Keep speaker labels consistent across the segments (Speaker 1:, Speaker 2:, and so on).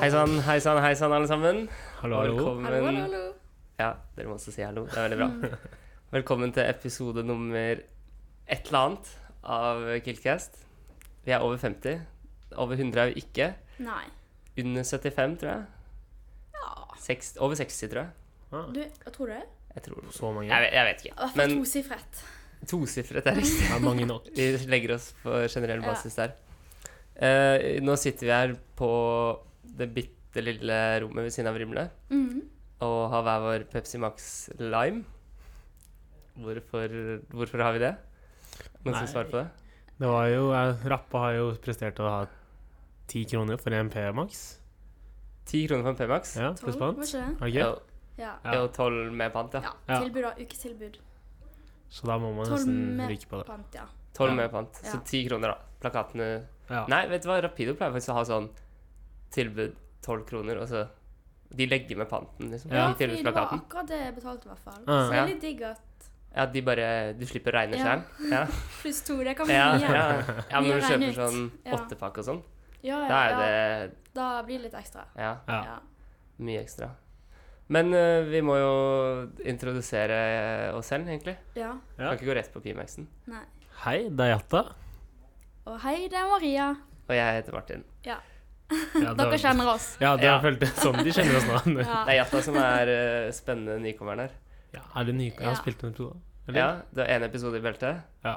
Speaker 1: Hei sann, hei sann, hei sann, alle sammen.
Speaker 2: Hallo, hallo.
Speaker 1: Velkommen.
Speaker 3: Hallo, hallo, Mm. hallo.
Speaker 1: Ja, dere må også si hallo. Det er veldig bra. Velkommen til episode nummer et eller annet av Kiltcast. Vi er over 50. Over 100 er vi ikke.
Speaker 3: Nei.
Speaker 1: Under 75, tror jeg.
Speaker 3: Ja.
Speaker 1: Seks, over 60, tror jeg.
Speaker 2: Ah,
Speaker 3: Du, hva tror du det?
Speaker 1: Jeg tror det.
Speaker 2: så mange.
Speaker 1: Jeg vet, jeg vet
Speaker 3: I hvert
Speaker 1: ikke.
Speaker 3: fall
Speaker 1: Men
Speaker 3: tosifret.
Speaker 1: tosifret er riktig.
Speaker 2: Det er mange nok.
Speaker 1: Vi legger oss på generell
Speaker 3: Ja.
Speaker 1: basis der. Eh, nå sitter vi her på det bitte lille rommet ved siden av Rimle.
Speaker 3: Mhm.
Speaker 1: og har hver vår Pepsi Max Lime. Hvorfor, hvorfor har vi det? Noen som
Speaker 2: Nei.
Speaker 1: svarer på det?
Speaker 2: Det var jo, jeg- Rappa har jo prestert å ha ti kroner for en P-max.
Speaker 1: Ti kroner for en P-Max.
Speaker 2: Ja,
Speaker 3: Tolv,
Speaker 2: pluss
Speaker 3: var
Speaker 2: pant.
Speaker 3: ikke det?
Speaker 2: Er det ikke?
Speaker 1: Ja.
Speaker 3: Ja.
Speaker 2: Ja.
Speaker 1: Og tolv med pant, ja.
Speaker 3: ja.
Speaker 2: Ja.
Speaker 3: Tilbud, da. Ukestilbud.
Speaker 2: Så da må man
Speaker 3: Tolv
Speaker 2: nesten
Speaker 3: med
Speaker 2: ryke på det.
Speaker 3: pant, ja.
Speaker 1: Tolv
Speaker 2: Ja.
Speaker 1: med pant. Så
Speaker 3: Ja.
Speaker 1: ti kroner, da. Plakatene
Speaker 2: Ja.
Speaker 1: Nei, vet du hva, Rapido pleier faktisk å ha sånn tilbud tolv kroner, og så De legger med panten, liksom.
Speaker 2: Ja.
Speaker 1: I
Speaker 3: fordi det var
Speaker 1: tilbudsplakaten.
Speaker 3: akkurat det jeg betalte, i hvert fall.
Speaker 2: Ah.
Speaker 3: Så det er litt digg at
Speaker 1: Ja, de bare Du slipper å regne
Speaker 3: Ja.
Speaker 1: sjæl. Ja.
Speaker 3: pluss to, det kan bli
Speaker 1: Ja,
Speaker 3: mye.
Speaker 1: ja. ja, men når
Speaker 3: Mye
Speaker 1: du kjøper
Speaker 3: regnet.
Speaker 1: sånn
Speaker 3: Ja.
Speaker 1: åttepakke og sånn, da
Speaker 3: Ja, ja,
Speaker 1: er
Speaker 3: ja.
Speaker 1: det
Speaker 3: Da blir det litt ekstra.
Speaker 1: Ja.
Speaker 2: Ja.
Speaker 3: Ja.
Speaker 1: Mye ekstra. Men eh, vi må jo introdusere oss selv, egentlig.
Speaker 3: ja.
Speaker 2: Ja.
Speaker 1: Kan ikke gå rett på Pimaxen.
Speaker 3: Nei.
Speaker 2: Hei, det er Jatta.
Speaker 3: Og hei, det er Maria.
Speaker 1: Og jeg heter Martin.
Speaker 2: Ja, det
Speaker 3: Dere
Speaker 2: var-
Speaker 3: kjenner oss.
Speaker 2: Ja, det
Speaker 1: Ja.
Speaker 2: føltes sånn de kjenner oss nå.
Speaker 3: Ja.
Speaker 1: Det er Jatta som er eh, spennende nykommeren her.
Speaker 2: Ja, er det ny? Jeg har
Speaker 3: Ja.
Speaker 2: spilt en episode. Eller?
Speaker 1: Ja, Du har én episode i beltet.
Speaker 2: ja.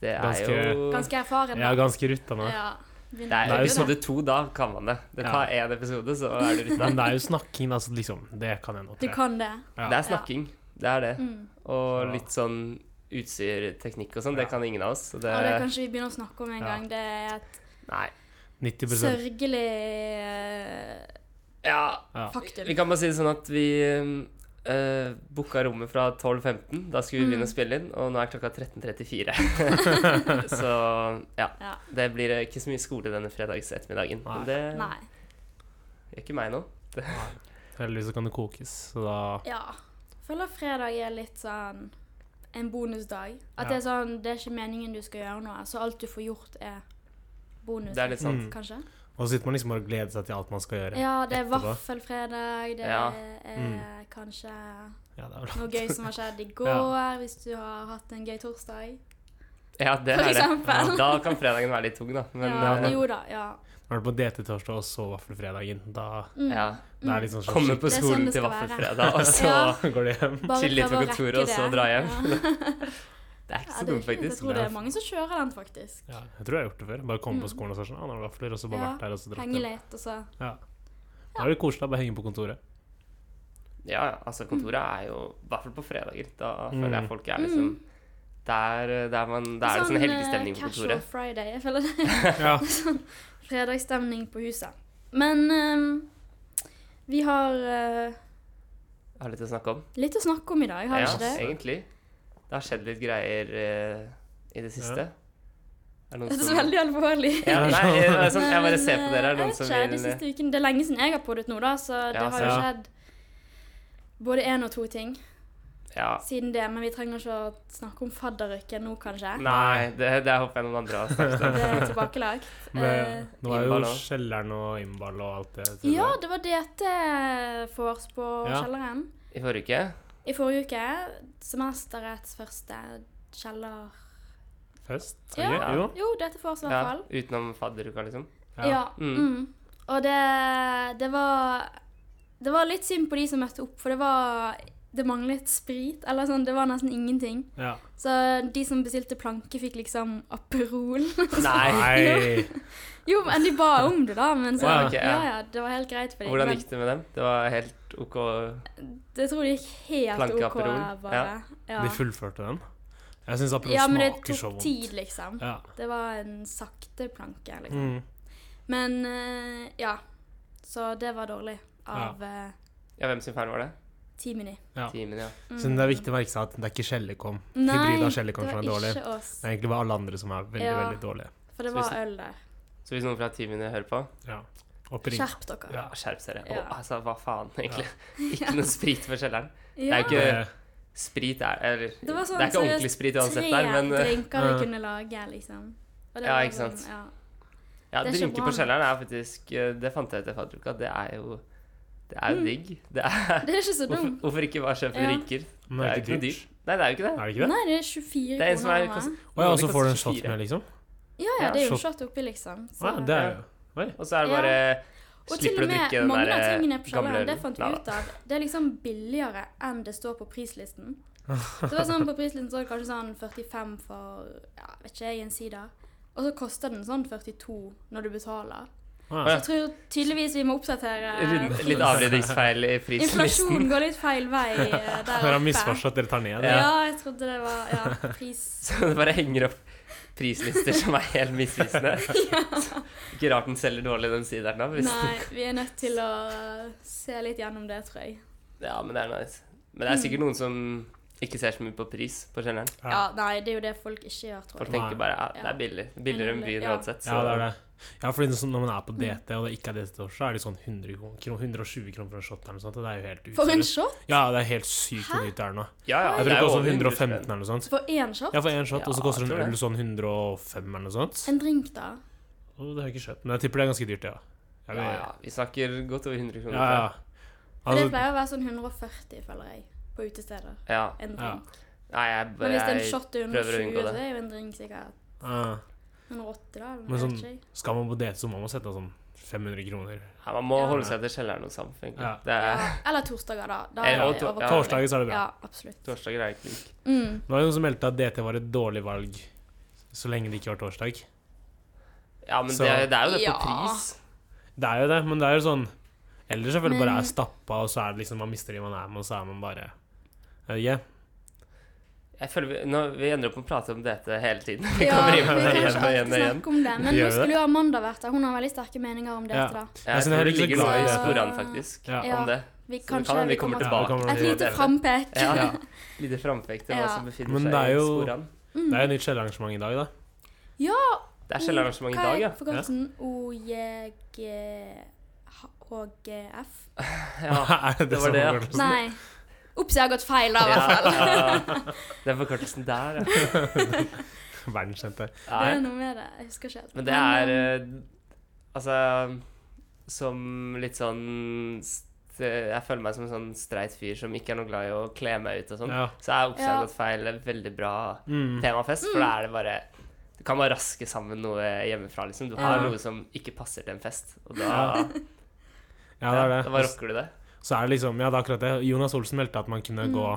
Speaker 1: Det er
Speaker 2: Ganske-
Speaker 1: jo
Speaker 3: Ganske erfaren.
Speaker 2: Jeg er ganske rutta nå.
Speaker 3: Ja.
Speaker 1: Det er
Speaker 2: Det er jo
Speaker 1: episode to, da kan man det. Det
Speaker 2: Ja.
Speaker 1: tar én episode, så er du litt
Speaker 2: Men det er jo snakking, da, så liksom Det kan jeg nok.
Speaker 3: Du
Speaker 2: det.
Speaker 3: kan det.
Speaker 2: Ja.
Speaker 1: Det er snakking. Det er det.
Speaker 3: Mm.
Speaker 1: Og litt sånn utstyrteknikk og sånn. Det
Speaker 2: Ja.
Speaker 1: kan ingen av oss. Så det
Speaker 3: Og det kanskje vi begynner å snakke om en
Speaker 2: Ja.
Speaker 3: gang. Det er et
Speaker 2: 90
Speaker 3: sørgelig eh,
Speaker 1: Ja,
Speaker 2: ja.
Speaker 3: faktum.
Speaker 1: Vi kan bare si det sånn at vi uh, booka rommet fra 12.15. Da skulle vi begynne
Speaker 3: Mm.
Speaker 1: å spille inn, og nå er klokka 13.34. så ja.
Speaker 3: Ja.
Speaker 1: Det blir eh, ikke så mye skole denne fredags ettermiddagen. Men
Speaker 2: Nei.
Speaker 1: det
Speaker 3: Nei.
Speaker 1: gjør ikke meg noe.
Speaker 2: Heldigvis så kan det kokes, så da
Speaker 3: Ja. Føler fredag er litt sånn en bonusdag.
Speaker 2: Ja.
Speaker 3: At det er sånn Det er ikke meningen du skal gjøre noe, så alt du får gjort, er bonus.
Speaker 1: Det er litt sant.
Speaker 2: Mm.
Speaker 3: Kanskje?
Speaker 2: Og så sitter man liksom bare og gleder seg til alt man skal gjøre. Ja,
Speaker 3: Ja, det er
Speaker 2: Etterpå.
Speaker 3: vaffelfredag, det
Speaker 1: Ja.
Speaker 3: er
Speaker 2: Mm.
Speaker 3: kanskje
Speaker 2: det er bra.
Speaker 3: noe gøy som har skjedd i går, hvis du har hatt en gøy torsdag.
Speaker 1: Ja, det
Speaker 3: For
Speaker 1: er det.
Speaker 3: eksempel.
Speaker 1: Da kan fredagen være litt tung, da. Men
Speaker 3: ja,
Speaker 1: eh,
Speaker 3: jo da, ja.
Speaker 2: Vært på DT-torsdag og så vaffelfredagen. Da
Speaker 3: Mm.
Speaker 1: ja.
Speaker 2: det er liksom sånn
Speaker 1: Komme på
Speaker 3: Det er sånn
Speaker 1: skolen
Speaker 3: det
Speaker 1: til
Speaker 3: skal være.
Speaker 1: vaffelfredag, og så
Speaker 3: Ja.
Speaker 2: shit, går det hjem.
Speaker 3: Bare
Speaker 1: Chill litt
Speaker 3: prøve
Speaker 1: på
Speaker 3: å rekke
Speaker 1: kontoret, og så
Speaker 3: det.
Speaker 1: dra hjem.
Speaker 3: Ja.
Speaker 1: Det er ikke
Speaker 3: Ja,
Speaker 1: så
Speaker 3: det er
Speaker 1: dumt,
Speaker 3: ikke- Jeg
Speaker 1: faktisk.
Speaker 3: tror det er mange som kjører den, faktisk.
Speaker 2: Ja, jeg tror jeg har gjort det før. Bare komme på skolen og så er det sånn, ah, nå er det vafler, og så bare
Speaker 3: Mm. Ja,
Speaker 2: vært der og så dratt
Speaker 3: Henge
Speaker 2: hjem.
Speaker 3: litt, altså. og så
Speaker 2: Ja. Da er det koselig å bare henge på kontoret.
Speaker 1: Ja, ja, altså kontoret er jo I hvert fall på fredager. Da føler jeg
Speaker 2: Mm.
Speaker 1: folk er liksom Der, der, man, der er det sånn helgestemning på
Speaker 3: eh, Casual
Speaker 1: kontoret.
Speaker 3: Friday. Jeg føler det
Speaker 2: Ja.
Speaker 3: Fredagsstemning på huset. Men ehm, vi har eh,
Speaker 1: Jeg har litt å snakke om.
Speaker 3: litt å snakke om i dag, har vi
Speaker 1: ja,
Speaker 3: ikke det?
Speaker 1: egentlig. Det har skjedd litt greier eh, i det siste. Er det
Speaker 3: Det
Speaker 1: noen
Speaker 3: er så
Speaker 1: som
Speaker 3: veldig alvorlig.
Speaker 1: ja, Nei, jeg, det er sånn, jeg bare
Speaker 3: Men,
Speaker 1: ser på dere. Er det noen
Speaker 3: jeg vet
Speaker 1: som
Speaker 3: ikke, de
Speaker 1: vil eh,
Speaker 3: siste ukene- Det er lenge siden jeg har poddet nå, da, så det
Speaker 1: Ja,
Speaker 3: har jo
Speaker 2: så-
Speaker 3: skjedd både én og to ting
Speaker 1: Ja.
Speaker 3: siden det. Men vi trenger ikke å snakke om fadderuken nå, kanskje.
Speaker 1: Nei, det, det håper jeg noen andre har snakket om.
Speaker 3: Det er tilbakelagt. Eh,
Speaker 2: Men det var
Speaker 1: Innball
Speaker 2: jo
Speaker 1: også.
Speaker 2: kjelleren og innball og alt det. tror jeg.
Speaker 3: ja, det var DT-vors på
Speaker 2: Ja.
Speaker 3: kjelleren
Speaker 1: I forrige uke
Speaker 3: i forrige uke. Semesterets første kjeller...
Speaker 2: Fest?
Speaker 3: Ja.
Speaker 2: Ja. Jo.
Speaker 3: Jo, DT-vors i hvert
Speaker 1: ja,
Speaker 3: fall.
Speaker 1: utenom fadderuka, liksom.
Speaker 2: Ja.
Speaker 3: Ja.
Speaker 1: Mm.
Speaker 3: Mm. Og det, det var Det var litt synd på de som møtte opp, for det var Det manglet sprit. Eller sånn, det var nesten ingenting.
Speaker 2: Ja.
Speaker 3: Så de som bestilte planke, fikk liksom Aperol.
Speaker 1: Nei.
Speaker 2: Nei.
Speaker 3: jo, men de ba om det, da. Men så,
Speaker 1: Wow,
Speaker 3: ja,
Speaker 1: ok, ja.
Speaker 3: ja. det var helt greit for dem.
Speaker 1: Hvordan
Speaker 3: men
Speaker 1: gikk det med dem? Det var helt OK?
Speaker 3: det tror jeg gikk helt
Speaker 1: Planke
Speaker 3: OK,
Speaker 1: Aperol,
Speaker 3: bare. Ja.
Speaker 2: De fullførte den. Jeg syns Aperol
Speaker 3: ja, men det
Speaker 2: smaker så
Speaker 3: tok
Speaker 2: vondt.
Speaker 3: tid, liksom.
Speaker 2: Ja.
Speaker 3: Det var en sakte planke. liksom.
Speaker 2: Mm.
Speaker 3: Men eh, ja. Så det var dårlig av eh,
Speaker 1: Ja, hvem sin feil var det?
Speaker 3: Timini.
Speaker 2: Ja.
Speaker 1: Timen, ja.
Speaker 2: Så det er viktig å merke seg at det er ikke Skjellekom.
Speaker 3: Nei,
Speaker 2: Hybrid av
Speaker 3: det
Speaker 2: Skjellekom som
Speaker 3: var
Speaker 2: er dårlig.
Speaker 3: ikke oss.
Speaker 2: Det er egentlig bare alle andre som er veldig,
Speaker 3: Ja.
Speaker 2: veldig dårlige.
Speaker 3: For det
Speaker 1: Så
Speaker 3: var
Speaker 1: hvis-
Speaker 3: øl der.
Speaker 1: Så hvis noen fra Timen hører på,
Speaker 2: Ja. Oppring.
Speaker 3: Skjerp dere.
Speaker 2: Ja.
Speaker 1: ja, skjerp dere. Å,
Speaker 3: Ja.
Speaker 1: altså, hva faen, egentlig? Ikke noe sprit for kjelleren.
Speaker 3: Ja.
Speaker 1: er jo ikke- Sprit er Eller, det,
Speaker 3: Det var sånn
Speaker 1: er ikke
Speaker 3: seriøst
Speaker 1: ordentlig sprit uansett der, men
Speaker 3: Tre
Speaker 1: eh,
Speaker 3: drinker vi
Speaker 2: Ja.
Speaker 3: kunne lage, liksom. Og det
Speaker 1: Ja,
Speaker 3: var
Speaker 1: ikke
Speaker 3: sånn,
Speaker 1: sant.
Speaker 3: Ja.
Speaker 1: Ja,
Speaker 3: Det er ikke
Speaker 1: drinker
Speaker 3: bra.
Speaker 1: på kjelleren er faktisk eh, Det fant jeg ut i fadderuka. Det er jo Det er jo digg. Det er,
Speaker 3: Det er ikke så
Speaker 1: hvorfor,
Speaker 3: dumt.
Speaker 1: hvorfor ikke bare kjøpe
Speaker 3: Mm. Ja.
Speaker 1: drinker?
Speaker 2: Men det er ikke
Speaker 1: noe
Speaker 2: dyrt.
Speaker 1: Nei, det er jo ikke det.
Speaker 2: Er det ikke det?
Speaker 3: Nei, det er 24
Speaker 1: Det er en som er
Speaker 3: kroner.
Speaker 1: kost-
Speaker 3: eller?
Speaker 2: Å ja, og
Speaker 1: det
Speaker 2: så får du en
Speaker 1: koster
Speaker 2: shot
Speaker 1: 24.
Speaker 2: med, liksom?
Speaker 3: Ja, ja,
Speaker 1: Ja,
Speaker 3: det er jo
Speaker 2: shot.
Speaker 3: shot oppi, liksom.
Speaker 2: Å Ja, det er jo Oi.
Speaker 1: Og så er det
Speaker 3: Ja.
Speaker 1: bare
Speaker 3: Og til
Speaker 1: Slipper
Speaker 3: og
Speaker 1: du å
Speaker 3: med
Speaker 1: drikke den
Speaker 3: mange av
Speaker 1: der
Speaker 3: tingene
Speaker 1: eh,
Speaker 3: på
Speaker 1: gamle
Speaker 3: kjelleren, det
Speaker 1: ølen.
Speaker 3: fant vi
Speaker 1: Nei,
Speaker 3: ut av, det er liksom billigere enn det står på prislisten. Det var sånn, På prislisten så var det kanskje sånn 45 for ja, vet ikke jeg, en side. Og så koster den sånn 42 når du betaler.
Speaker 2: Ah,
Speaker 3: Så jeg tror tydeligvis vi må oppdatere
Speaker 1: da. Rund- Litt
Speaker 3: pris.
Speaker 1: avredningsfeil i prislisten.
Speaker 3: Inflasjon går litt feil vei eh,
Speaker 2: Dere
Speaker 3: der
Speaker 2: har misforstått, dere tar ned.
Speaker 3: Ja.
Speaker 2: Ja.
Speaker 3: jeg trodde det var ja, pris
Speaker 1: Så det bare henger opp prislister som er helt misvisende. Ikke rart den selger dårlig, den sideren. da. Hvis,
Speaker 3: Nei, vi er nødt til å eh, se litt gjennom det, tror jeg.
Speaker 1: ja, men det er nice. Men
Speaker 3: Mm.
Speaker 1: det er sikkert noen som ikke ser så mye på pris på kjelleren.
Speaker 2: Ja.
Speaker 3: Ja, nei, det er jo det folk ikke gjør, tror
Speaker 1: Folk
Speaker 3: jeg.
Speaker 1: tenker
Speaker 2: Nei.
Speaker 1: bare ja, det er billig. Billigere enn byen
Speaker 3: Ja.
Speaker 1: uansett.
Speaker 2: ja, det er det. Ja, fordi det er sånn, når man
Speaker 1: Mm.
Speaker 2: er på DT, og det ikke er DT år, så er det sånn 100 kroner, 120 kroner for en shot eller noe sånt. og Det er jo helt
Speaker 3: For en
Speaker 2: useriøst.
Speaker 3: shot?
Speaker 2: Ja, det er helt sykt hvor dyrt det er nå.
Speaker 1: Ja, ja,
Speaker 2: Jeg
Speaker 1: det
Speaker 2: tror det
Speaker 1: er jo
Speaker 2: koster
Speaker 1: over 100
Speaker 2: 115
Speaker 1: spenn.
Speaker 2: eller noe sånt.
Speaker 3: For én shot?
Speaker 2: Ja, for én shot, og
Speaker 1: Ja,
Speaker 2: så koster en
Speaker 1: jeg tror det.
Speaker 2: øl sånn 105 eller noe sånt.
Speaker 3: En drink, da?
Speaker 2: Og det har jeg ikke skjønt, men jeg tipper det er ganske dyrt, ja.
Speaker 1: Ja,
Speaker 2: Jeg vil-
Speaker 1: ja. Vi snakker godt over 100 kroner.
Speaker 2: ja, ja.
Speaker 3: For det
Speaker 2: Altså,
Speaker 3: pleier å være sånn 140, føler jeg, på utesteder.
Speaker 1: ja. ja.
Speaker 2: Ja.
Speaker 3: En drink.
Speaker 1: Nei, jeg,
Speaker 3: Men hvis det er en
Speaker 1: jeg
Speaker 3: shot er
Speaker 1: prøver å
Speaker 3: 120,
Speaker 1: unngå det.
Speaker 3: så er jo en drink sikkert
Speaker 2: ja.
Speaker 3: 180, da.
Speaker 2: Men
Speaker 3: Eller
Speaker 2: sånn,
Speaker 3: noe sånt.
Speaker 2: skal man på DT, så må man sette av sånn 500 kroner.
Speaker 1: ja, Man må
Speaker 3: Ja.
Speaker 1: holde seg til kjelleren hos Samf, egentlig.
Speaker 2: Ja.
Speaker 1: Det
Speaker 3: Ja.
Speaker 1: er
Speaker 3: Eller torsdager, da. Da
Speaker 1: Eller-
Speaker 3: er
Speaker 1: og
Speaker 3: det
Speaker 1: to-
Speaker 3: overkant.
Speaker 1: ja.
Speaker 2: Torsdager så er det bra.
Speaker 3: Ja, absolutt.
Speaker 1: torsdager er ikke lik.
Speaker 3: Mm.
Speaker 2: Det var jo noen som meldte at DT var et dårlig valg så lenge det ikke var torsdag.
Speaker 1: Ja, men
Speaker 2: Så-
Speaker 1: det, er- det er jo det
Speaker 3: Ja.
Speaker 1: på pris.
Speaker 2: Det er jo det, men det er jo sånn Eller selvfølgelig bare
Speaker 3: Men-
Speaker 2: er stappa, og så er det liksom man mister de man er med, og så er man bare eh, Jeg vet ikke.
Speaker 1: Jeg føler vi, nå, vi ender opp med å prate om dette hele tiden. Vi
Speaker 3: Ja,
Speaker 1: kommer
Speaker 3: vi
Speaker 1: inn
Speaker 3: kan
Speaker 1: med det
Speaker 3: ikke
Speaker 1: igjen og igjen
Speaker 3: alltid
Speaker 1: og igjen.
Speaker 3: snakke om det, men
Speaker 2: Gjør vi
Speaker 3: nå skulle jo Amanda vært der. Hun har veldig sterke meninger om dette,
Speaker 2: Ja.
Speaker 3: da.
Speaker 1: Jeg
Speaker 2: synes jeg er
Speaker 1: tror det
Speaker 2: litt så
Speaker 1: ligger
Speaker 2: glad
Speaker 1: noe
Speaker 2: i
Speaker 1: i
Speaker 3: det.
Speaker 1: sporene, faktisk.
Speaker 2: Ja.
Speaker 3: Ja,
Speaker 1: Om det.
Speaker 3: vi
Speaker 1: Så det kan
Speaker 3: kanskje
Speaker 1: hende vi kommer
Speaker 2: til-
Speaker 3: til
Speaker 2: Ja,
Speaker 1: tilbake.
Speaker 2: det kommer
Speaker 3: Et
Speaker 1: til
Speaker 2: vi-
Speaker 1: det.
Speaker 3: lite frampek.
Speaker 1: Ja. Lite frampek til hva
Speaker 3: Ja.
Speaker 1: som befinner
Speaker 2: Men
Speaker 1: seg
Speaker 2: det er
Speaker 1: i
Speaker 2: jo-
Speaker 1: sporene.
Speaker 2: Det
Speaker 3: Mm.
Speaker 2: er jo et nytt kjellerarrangement i dag, da.
Speaker 1: Det er kjellerarrangement i dag, ja.
Speaker 3: Hva er forkortelsen? OJGHGF?
Speaker 1: ja.
Speaker 2: er det,
Speaker 1: det
Speaker 2: som
Speaker 1: var det, ja.
Speaker 2: forkortelsen?
Speaker 3: Nei. Ops, jeg har gått feil, da, i hvert fall.
Speaker 1: Sånn- ja. Den forkortelsen der, ja.
Speaker 2: Verdenskjente.
Speaker 3: Det er
Speaker 1: Nei.
Speaker 3: noe med det. Jeg husker ikke helt.
Speaker 1: Men det er
Speaker 3: eh,
Speaker 1: eh, Altså Som litt sånn st- Jeg føler meg som en sånn streit fyr som ikke er noe glad i å kle meg ut og sånn.
Speaker 2: Ja.
Speaker 1: Så er Oppside
Speaker 3: Ja.
Speaker 1: gått feil et veldig bra
Speaker 2: Mm.
Speaker 1: temafest, for da er det bare Du kan bare raske sammen noe hjemmefra, liksom. Du har
Speaker 2: Ja.
Speaker 1: noe som ikke passer til en fest, og da,
Speaker 2: Ja. Ja, det
Speaker 1: ja,
Speaker 2: er det.
Speaker 1: da bare rocker du det.
Speaker 2: Så er det liksom, ja, det er akkurat det. Jonas Olsen meldte at man kunne gå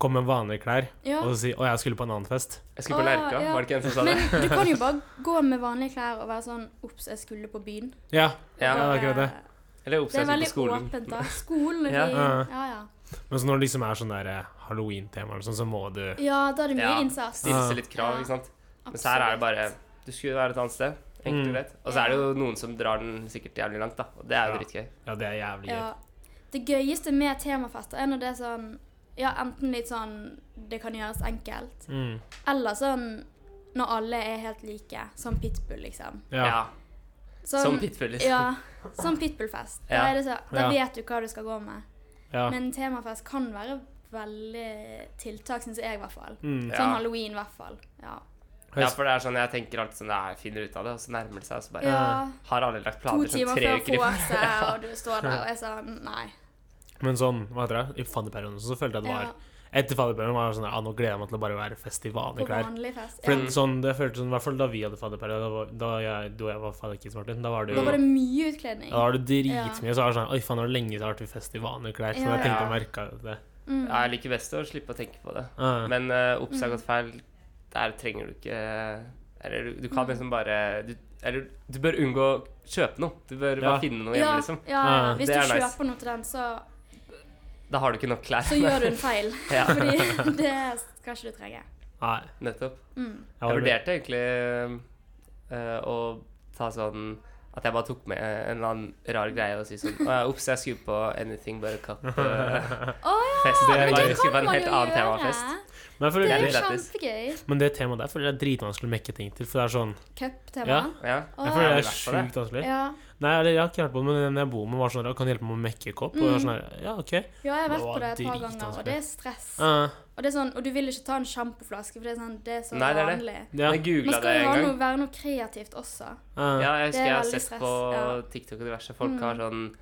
Speaker 2: Komme med vanlige klær
Speaker 3: Mm. eh, ja.
Speaker 2: og så si 'Å, jeg skulle på en annen fest'.
Speaker 1: Jeg skulle på
Speaker 3: Å,
Speaker 1: Lerka,
Speaker 3: ja.
Speaker 1: var det ikke en som sa det?
Speaker 3: Men du kan jo bare gå med vanlige klær og være sånn Ops, jeg skulle på byen.
Speaker 2: Ja.
Speaker 1: Ja,
Speaker 2: det er
Speaker 3: Bare-
Speaker 2: akkurat det.
Speaker 1: Eller
Speaker 3: Det er
Speaker 1: oppsett på
Speaker 3: veldig
Speaker 1: skolen.
Speaker 3: åpent, da. Skolen er
Speaker 1: Ja.
Speaker 3: fin.
Speaker 2: Ja.
Speaker 3: Ja, ja.
Speaker 2: Men så når det liksom er sånn der eh, halloween-tema eller sånn, så må du
Speaker 3: Ja, da er det mye
Speaker 1: Ja.
Speaker 3: innsats.
Speaker 1: Stille
Speaker 2: Ja.
Speaker 1: seg litt krav,
Speaker 3: Ja.
Speaker 1: ikke sant. Mens her er det bare Du skulle være et annet sted. Enkelt og
Speaker 2: Mm.
Speaker 1: greit. Og så er det jo noen som drar den sikkert jævlig langt, da. Og det er jo
Speaker 2: Ja.
Speaker 1: dritgøy.
Speaker 2: Ja, det er jævlig gøy.
Speaker 3: Ja. Det gøyeste med temafester er når det er sånn Ja, enten litt sånn Det kan gjøres enkelt,
Speaker 2: Mm.
Speaker 3: eller sånn når alle er helt like. Som pitbull, liksom.
Speaker 2: Ja.
Speaker 1: Ja.
Speaker 2: Ja.
Speaker 3: Sånn,
Speaker 1: Som pitbull, liksom.
Speaker 3: Ja. Som pitbullfest. Da,
Speaker 1: Ja.
Speaker 3: er det så, da
Speaker 2: Ja.
Speaker 3: vet du hva du skal gå med.
Speaker 2: Ja.
Speaker 3: Men temafest kan være veldig tiltak, syns jeg i hvert fall.
Speaker 2: Mm.
Speaker 1: Ja.
Speaker 3: Sånn halloween i hvert fall. Ja.
Speaker 1: Ja, for det er sånn jeg tenker alltid sånn Jeg finner ut av det, og så nærmer det seg, og så bare
Speaker 3: ja.
Speaker 1: Har alle lagt
Speaker 3: To
Speaker 1: planer sånn
Speaker 3: timer
Speaker 1: tre
Speaker 3: før
Speaker 1: uker i
Speaker 3: vorset, og du står der og er sånn Nei.
Speaker 2: Men sånn, hva heter det, i fadderperioden så følte jeg det var
Speaker 3: Ja,
Speaker 2: Etter fadderperioden var jeg sånn der, ah, nå gleder jeg meg til å bare være fest i
Speaker 3: på
Speaker 2: vanlige klær.
Speaker 3: vanlig fest.
Speaker 2: For
Speaker 3: Ja.
Speaker 2: det- sånn, det føltes sånn, i hvert fall da vi hadde fadderperiode, da, var- da jeg, du og jeg var fadderkids, Martin, da var det
Speaker 3: Da
Speaker 2: jo
Speaker 3: var det mye utkledning.
Speaker 2: da var det
Speaker 3: Ja.
Speaker 2: dritmye. Så var det sånn Oi, faen, det var lenge siden det har vært fest i vanlige klær. Så
Speaker 3: Ja.
Speaker 2: jeg tenkte
Speaker 1: Ja.
Speaker 2: jeg merket det.
Speaker 3: Mm.
Speaker 1: Ja, jeg liker best å slippe å tenke på det.
Speaker 2: Ah.
Speaker 1: Men uh, obs har gått feil. Der trenger du ikke Eller du, du kan
Speaker 3: Mm.
Speaker 1: liksom bare du, Eller du bør unngå å kjøpe noe. Du bør
Speaker 2: Ja.
Speaker 1: bare finne noe hjemme, liksom.
Speaker 3: Ja, ja, ja.
Speaker 2: Ah,
Speaker 3: Hvis du
Speaker 1: det er
Speaker 3: kjøper
Speaker 1: nice.
Speaker 3: noe til den, så,
Speaker 1: Da har du ikke nok klær.
Speaker 3: så gjør du en feil.
Speaker 1: Ja.
Speaker 3: Fordi det skal ikke du trenge.
Speaker 2: Nei.
Speaker 1: Nettopp.
Speaker 3: Mm.
Speaker 2: Jeg
Speaker 1: Jeg
Speaker 2: var
Speaker 1: vurderte egentlig eh, å ta sånn at jeg bare tok med en eller annen rar greie og si sånn Ops, jeg skulle på Anything But A eh, Cup-fest.
Speaker 3: Å ja!
Speaker 2: Det
Speaker 1: jeg
Speaker 2: er
Speaker 1: bare
Speaker 2: gøy.
Speaker 1: skulle på en helt
Speaker 3: jo
Speaker 1: annen
Speaker 3: gjøre.
Speaker 1: temafest.
Speaker 2: Men, jeg
Speaker 3: Det
Speaker 2: føler,
Speaker 3: er
Speaker 1: Det
Speaker 3: jo
Speaker 1: er lættis.
Speaker 3: kjempegøy.
Speaker 2: men det temaet der føler jeg er dritvanskelig å mekke ting til. For det er sånn
Speaker 3: Cup-tema.
Speaker 2: Ja.
Speaker 1: Ja.
Speaker 2: Jeg
Speaker 1: Ja,
Speaker 2: føler det er
Speaker 1: i hvert fall det.
Speaker 2: sjukt vanskelig.
Speaker 3: Ja.
Speaker 2: Nei, eller jeg har ikke vært på det, men den jeg bor med, var sånn der, kan du hjelpe meg å mekke kopp? Og jeg var sånn
Speaker 3: Mm.
Speaker 2: der, ja, ok.
Speaker 3: Ja, jeg har vært
Speaker 2: Det var
Speaker 3: på det et par
Speaker 2: dritvanskelig.
Speaker 1: altså.
Speaker 3: ganger, og det er stress.
Speaker 2: Eh,
Speaker 3: Og, det er sånn, og du vil ikke ta en sjampoflaske, for det er, sånn, det er så
Speaker 1: Nei, det er det.
Speaker 3: vanlig.
Speaker 1: Jeg
Speaker 2: ja.
Speaker 3: Man
Speaker 1: googla det
Speaker 3: skal jo
Speaker 1: en
Speaker 3: ha
Speaker 1: gang.
Speaker 3: noe, være noe kreativt også.
Speaker 1: Ja, jeg
Speaker 2: eh,
Speaker 3: Det er
Speaker 1: husker jeg har
Speaker 3: veldig
Speaker 1: sett
Speaker 3: stress,
Speaker 1: på
Speaker 3: ja. Mm.
Speaker 1: TikTok og diverse. Folk har sånn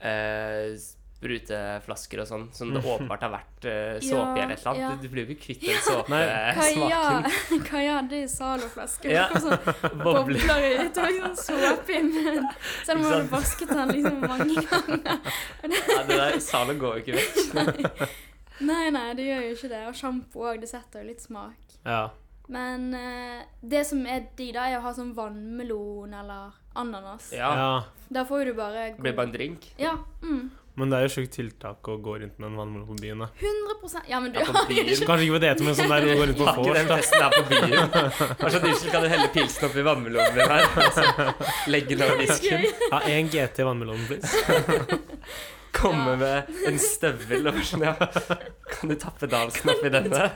Speaker 1: eh, spruteflasker og sånn, som det
Speaker 2: Mm.
Speaker 1: åpenbart har vært eh, såpe i eller et eller
Speaker 3: Ja, ja.
Speaker 1: annet. Du, du blir jo ikke kvitt den
Speaker 2: Nei.
Speaker 1: såpesmaken.
Speaker 3: Kaja hadde i Zalo-flaske.
Speaker 1: Ja.
Speaker 3: Det kom sånn
Speaker 1: Bobler.
Speaker 3: bobler i. Det var liksom såpe i munnen. Selv om hun hadde vasket den liksom mange ganger.
Speaker 1: Ja, det der Zalo går jo ikke vekk.
Speaker 3: Nei, nei, det gjør jo ikke det. Og sjampo òg. Det setter jo litt smak.
Speaker 2: ja.
Speaker 3: Men eh, det som er de, da, er å ha sånn vannmelon eller ananas.
Speaker 1: Ja,
Speaker 2: ja.
Speaker 3: Da får jo du bare
Speaker 1: det blir bare en drink.
Speaker 3: Ja. Mm.
Speaker 2: Men det er jo sjukt tiltak å gå rundt med en vannmelon på byen. da.
Speaker 3: 100 Ja, men du
Speaker 1: Ja, på
Speaker 3: har jo
Speaker 1: byen.
Speaker 3: ikke
Speaker 2: Kanskje ikke på date, men sånn der du går rundt på
Speaker 1: Har ikke
Speaker 2: vors.
Speaker 1: den
Speaker 2: da.
Speaker 1: festen her på byen. Hva slags unnskyld kan du helle pilsen oppi vannmelonen din her? Altså, legge den over disken.
Speaker 3: gøy.
Speaker 2: Ja, én GT vannmelon, please.
Speaker 1: Komme
Speaker 3: Ja.
Speaker 1: med en støvel og bare sånn, ja. Kan du tappe dansen oppi denne?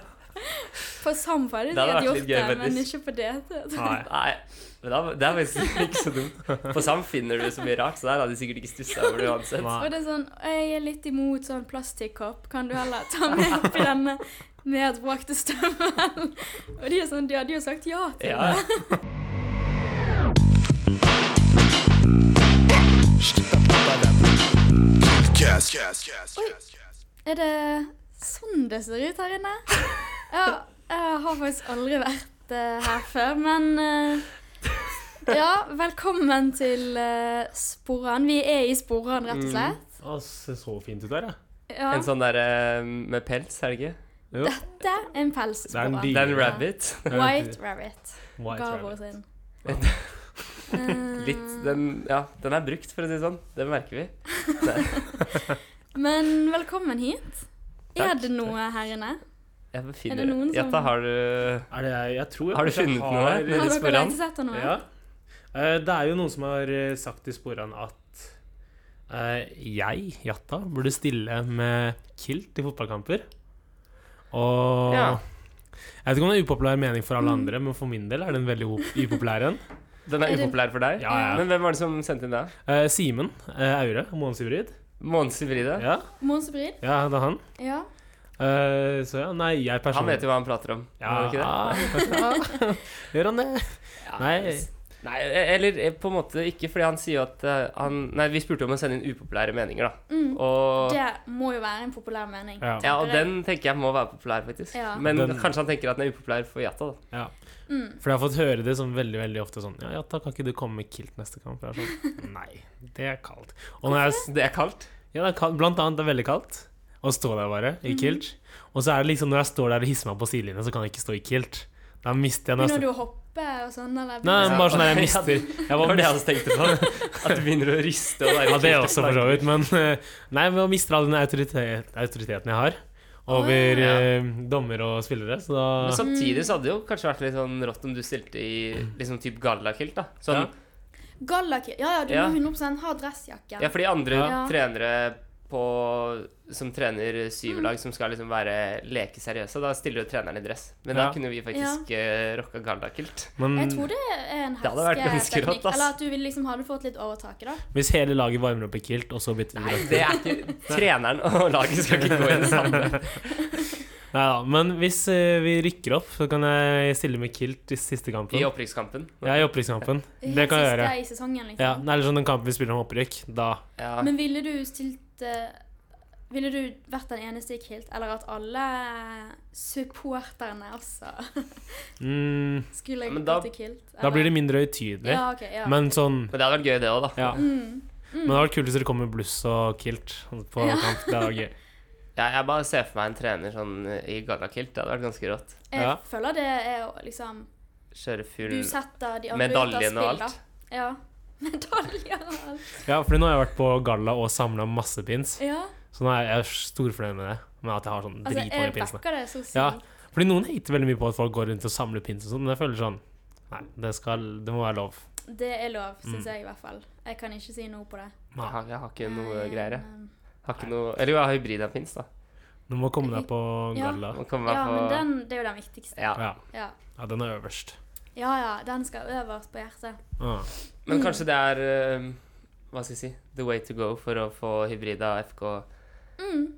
Speaker 3: På samfunnet
Speaker 1: Det hadde
Speaker 3: sikkert
Speaker 1: vært
Speaker 3: gjort
Speaker 1: litt
Speaker 3: det,
Speaker 1: gøy,
Speaker 3: men
Speaker 1: faktisk.
Speaker 3: ikke på date.
Speaker 2: Nei.
Speaker 1: Nei, men da, det er faktisk ikke så dumt. På Sam finner du så mye rart, så der hadde de sikkert ikke stussa over det uansett.
Speaker 3: Og
Speaker 2: Nei.
Speaker 3: det er sånn Jeg er litt imot sånn plastikkopp. Kan du heller ta med oppi denne nedbrakte støvelen? Og de er sånn De hadde jo sagt ja til
Speaker 1: Ja.
Speaker 4: Cast, cast, cast, cast, cast.
Speaker 3: det. Er det sånn det ser ut her inne? Ja. Jeg har faktisk aldri vært eh, her før, men eh, Ja, velkommen til uh, Sporran. Vi er i Sporran, rett og slett.
Speaker 2: Å, ser så fint ut der, ja.
Speaker 3: Ja.
Speaker 1: Mm. En sånn der eh, med pels, er det ikke?
Speaker 2: Jo.
Speaker 3: Dette er en pels.
Speaker 2: Det er en
Speaker 1: Det er en
Speaker 2: dyre.
Speaker 1: rabbit.
Speaker 3: White Rabbit.
Speaker 2: White
Speaker 3: Gabor
Speaker 2: rabbit.
Speaker 3: sin. Eh,
Speaker 1: Litt, den, ja, den er brukt, for å si det sånn. Det merker vi.
Speaker 3: Men velkommen hit. Er
Speaker 1: Takk.
Speaker 3: det noe her inne?
Speaker 1: Jeg
Speaker 3: Er det
Speaker 1: befinner
Speaker 3: noen som-
Speaker 1: Jette, har du
Speaker 2: Er det jeg, jeg tror jeg
Speaker 1: Har du
Speaker 2: kanskje
Speaker 1: funnet noe her?
Speaker 2: har-
Speaker 1: det
Speaker 3: Har dere
Speaker 1: Sporan?
Speaker 3: lett etter noe?
Speaker 2: Ja. Eh, Det er jo noen som har eh, sagt i sporene at eh, jeg, Jatta, burde stille med kilt i fotballkamper. Og
Speaker 1: Ja. Mm.
Speaker 2: Jeg vet ikke om det er en upopulær mening for alle andre, men for min del er det en veldig op- upopulær en.
Speaker 1: Den er
Speaker 3: Er det-
Speaker 1: upopulær for deg?
Speaker 2: Ja, ja.
Speaker 1: Men hvem var det som sendte inn det?
Speaker 2: Eh, Simen eh, Aure, Månesivryd.
Speaker 1: Måns Ivride?
Speaker 2: Ja,
Speaker 3: Månsebrid?
Speaker 2: ja, det er han.
Speaker 3: Ja.
Speaker 2: Eh, så ja, nei, jeg
Speaker 1: Han
Speaker 2: personlig
Speaker 1: vet jo hva han prater om.
Speaker 2: Ja,
Speaker 1: gjør han
Speaker 2: ja, Gjør han det?
Speaker 1: Ja.
Speaker 2: Nei.
Speaker 1: Nei, eller eh, på en måte ikke, fordi han sier jo at eh, han Nei, vi spurte om å sende inn upopulære meninger, da.
Speaker 3: Mm.
Speaker 1: Og
Speaker 3: Det må jo være en populær mening.
Speaker 2: Ja.
Speaker 1: Ja, og den tenker jeg må være populær, faktisk.
Speaker 3: Ja.
Speaker 1: Men
Speaker 2: Den-
Speaker 1: kanskje han tenker at den er upopulær for Jata, da.
Speaker 2: Ja.
Speaker 3: Mm.
Speaker 2: For jeg har fått høre det sånn veldig veldig ofte sånn Ja, Jatta, kan ikke du komme med kilt neste kamp? Jeg er sånn Nei, det er kaldt. Og når jeg,
Speaker 1: Det er kaldt.
Speaker 2: ja, det er kaldt, blant annet det er veldig kaldt å stå der bare i
Speaker 3: Mhm.
Speaker 2: kilt. Og så er det liksom når jeg står der og hisser meg på sidelinjen, så kan jeg ikke stå i kilt. Da mister jeg
Speaker 3: Begynner
Speaker 2: nesten
Speaker 3: du å hoppe og sånn, eller?
Speaker 2: Nei, men bare sånn der jeg
Speaker 1: Ja,
Speaker 2: mister
Speaker 1: det-
Speaker 2: jeg
Speaker 1: Det var
Speaker 2: bare
Speaker 1: det jeg også tenkte på. At du begynner å riste og være
Speaker 2: Ja, det er også for så vidt, men eh, Nei, men jeg mister all den autoritet, autoriteten jeg har over
Speaker 3: Å,
Speaker 1: ja.
Speaker 2: eh, dommer og spillere, så da
Speaker 1: Men
Speaker 3: Mm.
Speaker 1: samtidig så hadde det jo kanskje vært litt sånn rått om du stilte i liksom type gallakilt, da. Sånn,
Speaker 2: Ja.
Speaker 3: Gallaki. Ja ja, du
Speaker 1: Ja.
Speaker 3: må 100 ha dressjakke.
Speaker 1: Ja, for de andre
Speaker 3: Ja.
Speaker 1: trenere på, som trener
Speaker 3: Mm.
Speaker 1: syverlag, som skal liksom være lekeseriøse, da stiller jo treneren i dress. Men da
Speaker 2: Ja.
Speaker 1: kunne vi faktisk eh, rocka gallakilt.
Speaker 2: Men
Speaker 3: Jeg tror det er en
Speaker 1: Det hadde vært ganske rått,
Speaker 3: hersketeknikk.
Speaker 1: ass.
Speaker 3: Eller at du vil liksom hadde fått litt overtaket, da.
Speaker 2: hvis hele laget varmer opp i kilt, og så bytter de
Speaker 1: Nei, det er ikke Treneren og laget skal ikke gå i det samme.
Speaker 2: Nei da, men hvis eh, vi rykker opp, så kan jeg stille med kilt i siste kampen.
Speaker 1: I opprykkskampen.
Speaker 2: Ja, i opprykkskampen. Det kan jeg
Speaker 3: Helt
Speaker 2: gjøre.
Speaker 3: siste i sesongen,
Speaker 2: Ja,
Speaker 3: liksom.
Speaker 2: nei, eller sånn den kampen vi spiller om opprykk, da
Speaker 1: Ja.
Speaker 3: Men ville du stilt eh, Ville du vært den eneste i kilt, eller at alle supporterne også
Speaker 2: mm,
Speaker 3: skulle
Speaker 1: Ja, men da-
Speaker 3: gått i kilt?
Speaker 2: Da blir det mindre høytidelig.
Speaker 3: Ja, ok, ja.
Speaker 2: Men sånn
Speaker 1: Men det hadde vært gøy, det òg, da.
Speaker 2: Ja. Men det hadde vært kult hvis dere kom med bluss og kilt på
Speaker 3: Ja.
Speaker 2: kamp. Det hadde vært gøy.
Speaker 1: Ja, jeg bare ser for meg en trener sånn i gallakilt. Det hadde vært ganske rått.
Speaker 3: Jeg
Speaker 2: Ja.
Speaker 3: føler det er å liksom
Speaker 1: Kjøre full
Speaker 3: Du setter de andre ut av
Speaker 1: medaljen og
Speaker 3: spill, da.
Speaker 1: alt.
Speaker 3: Ja. Medaljer og alt.
Speaker 2: Ja, for nå har jeg vært på galla og samla masse pins,
Speaker 3: Ja.
Speaker 2: så nå er jeg storfornøyd med det. Med at jeg har sånn
Speaker 3: Altså,
Speaker 2: dritmange
Speaker 3: jeg
Speaker 2: pinsene.
Speaker 3: backer det så sykt.
Speaker 2: Ja. Fordi noen hater veldig mye på at folk går rundt og samler pins og sånn, men jeg føler sånn Nei, det, skal, det må være lov.
Speaker 3: Det er
Speaker 2: Mm.
Speaker 3: lov, syns jeg i hvert fall. Jeg kan ikke si noe på det.
Speaker 1: Jeg har, jeg har ikke noe
Speaker 3: Men,
Speaker 1: greier, jeg.
Speaker 3: um,
Speaker 1: Har ikke noe Eller jo, jeg har hybrid av pins, da.
Speaker 2: Du må komme deg på
Speaker 3: Ja.
Speaker 2: galla.
Speaker 1: Må komme meg
Speaker 3: Ja, men
Speaker 1: på-
Speaker 3: den, det er jo den viktigste.
Speaker 1: ja.
Speaker 2: Ja.
Speaker 3: Ja.
Speaker 2: ja, den er øverst.
Speaker 3: ja ja, den skal øverst på hjertet.
Speaker 2: Ah.
Speaker 1: Men kanskje det er eh, hva skal jeg si, the way to go for å få Hybrida FK
Speaker 3: Mm.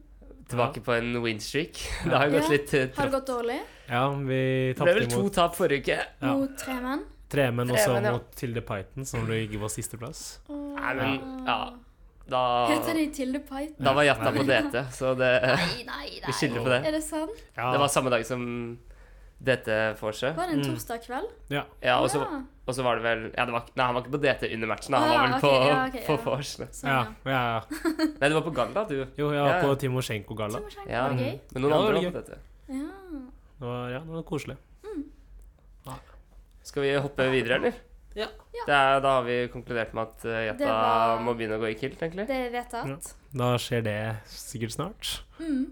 Speaker 1: tilbake på en winstreak. Det har gått
Speaker 3: Ja.
Speaker 1: litt eh,
Speaker 3: Har
Speaker 1: trått.
Speaker 3: det gått dårlig
Speaker 2: Ja, vi
Speaker 1: Det ble
Speaker 2: tapte
Speaker 1: vel to
Speaker 2: mot
Speaker 1: tap forrige uke.
Speaker 2: Ja.
Speaker 3: mot tre menn?
Speaker 2: Tremen og så
Speaker 1: Tremen, ja.
Speaker 2: mot Tilde Python, som ligger på sisteplass.
Speaker 1: Nei, men ja. Da,
Speaker 3: Heter de Tilde Python?
Speaker 1: da var Jatta på DT, så det,
Speaker 3: Nei, nei,
Speaker 1: vi
Speaker 3: nei.
Speaker 1: skylder på det.
Speaker 3: Er det sant?
Speaker 2: Ja,
Speaker 1: Det var samme dag som DT får seg.
Speaker 3: Var det en
Speaker 2: Mm.
Speaker 3: torsdag kveld?
Speaker 2: ja.
Speaker 1: Ja, og så,
Speaker 3: Ja,
Speaker 1: og så var det vel ja, det var, Nei, han var ikke på DT under matchen, da. han
Speaker 3: Ah,
Speaker 1: var vel
Speaker 3: ok,
Speaker 1: på,
Speaker 3: ja, ok,
Speaker 1: på
Speaker 3: ja.
Speaker 1: vors. Nei,
Speaker 3: sånn,
Speaker 2: Ja,
Speaker 3: ja.
Speaker 2: ja, ja.
Speaker 1: du var på Galla, du.
Speaker 2: Jo, jeg
Speaker 1: Ja,
Speaker 2: var
Speaker 1: ja.
Speaker 2: på Timosjenko-galla.
Speaker 3: Timosjenko,
Speaker 1: Ja. Mm.
Speaker 3: var det gøy?
Speaker 1: Men noen
Speaker 2: Ja, det var
Speaker 1: andre
Speaker 2: gøy.
Speaker 1: var på DT.
Speaker 3: Ja.
Speaker 2: Det var, ja, det var koselig.
Speaker 1: Skal vi hoppe videre, eller?
Speaker 2: Ja.
Speaker 3: Ja.
Speaker 1: Det er, da har vi konkludert med at eh,
Speaker 3: Det
Speaker 1: Jetta
Speaker 3: var-
Speaker 1: må begynne å gå i kilt, egentlig.
Speaker 3: Det er vedtatt.
Speaker 2: Da skjer det sikkert snart.
Speaker 3: Mm.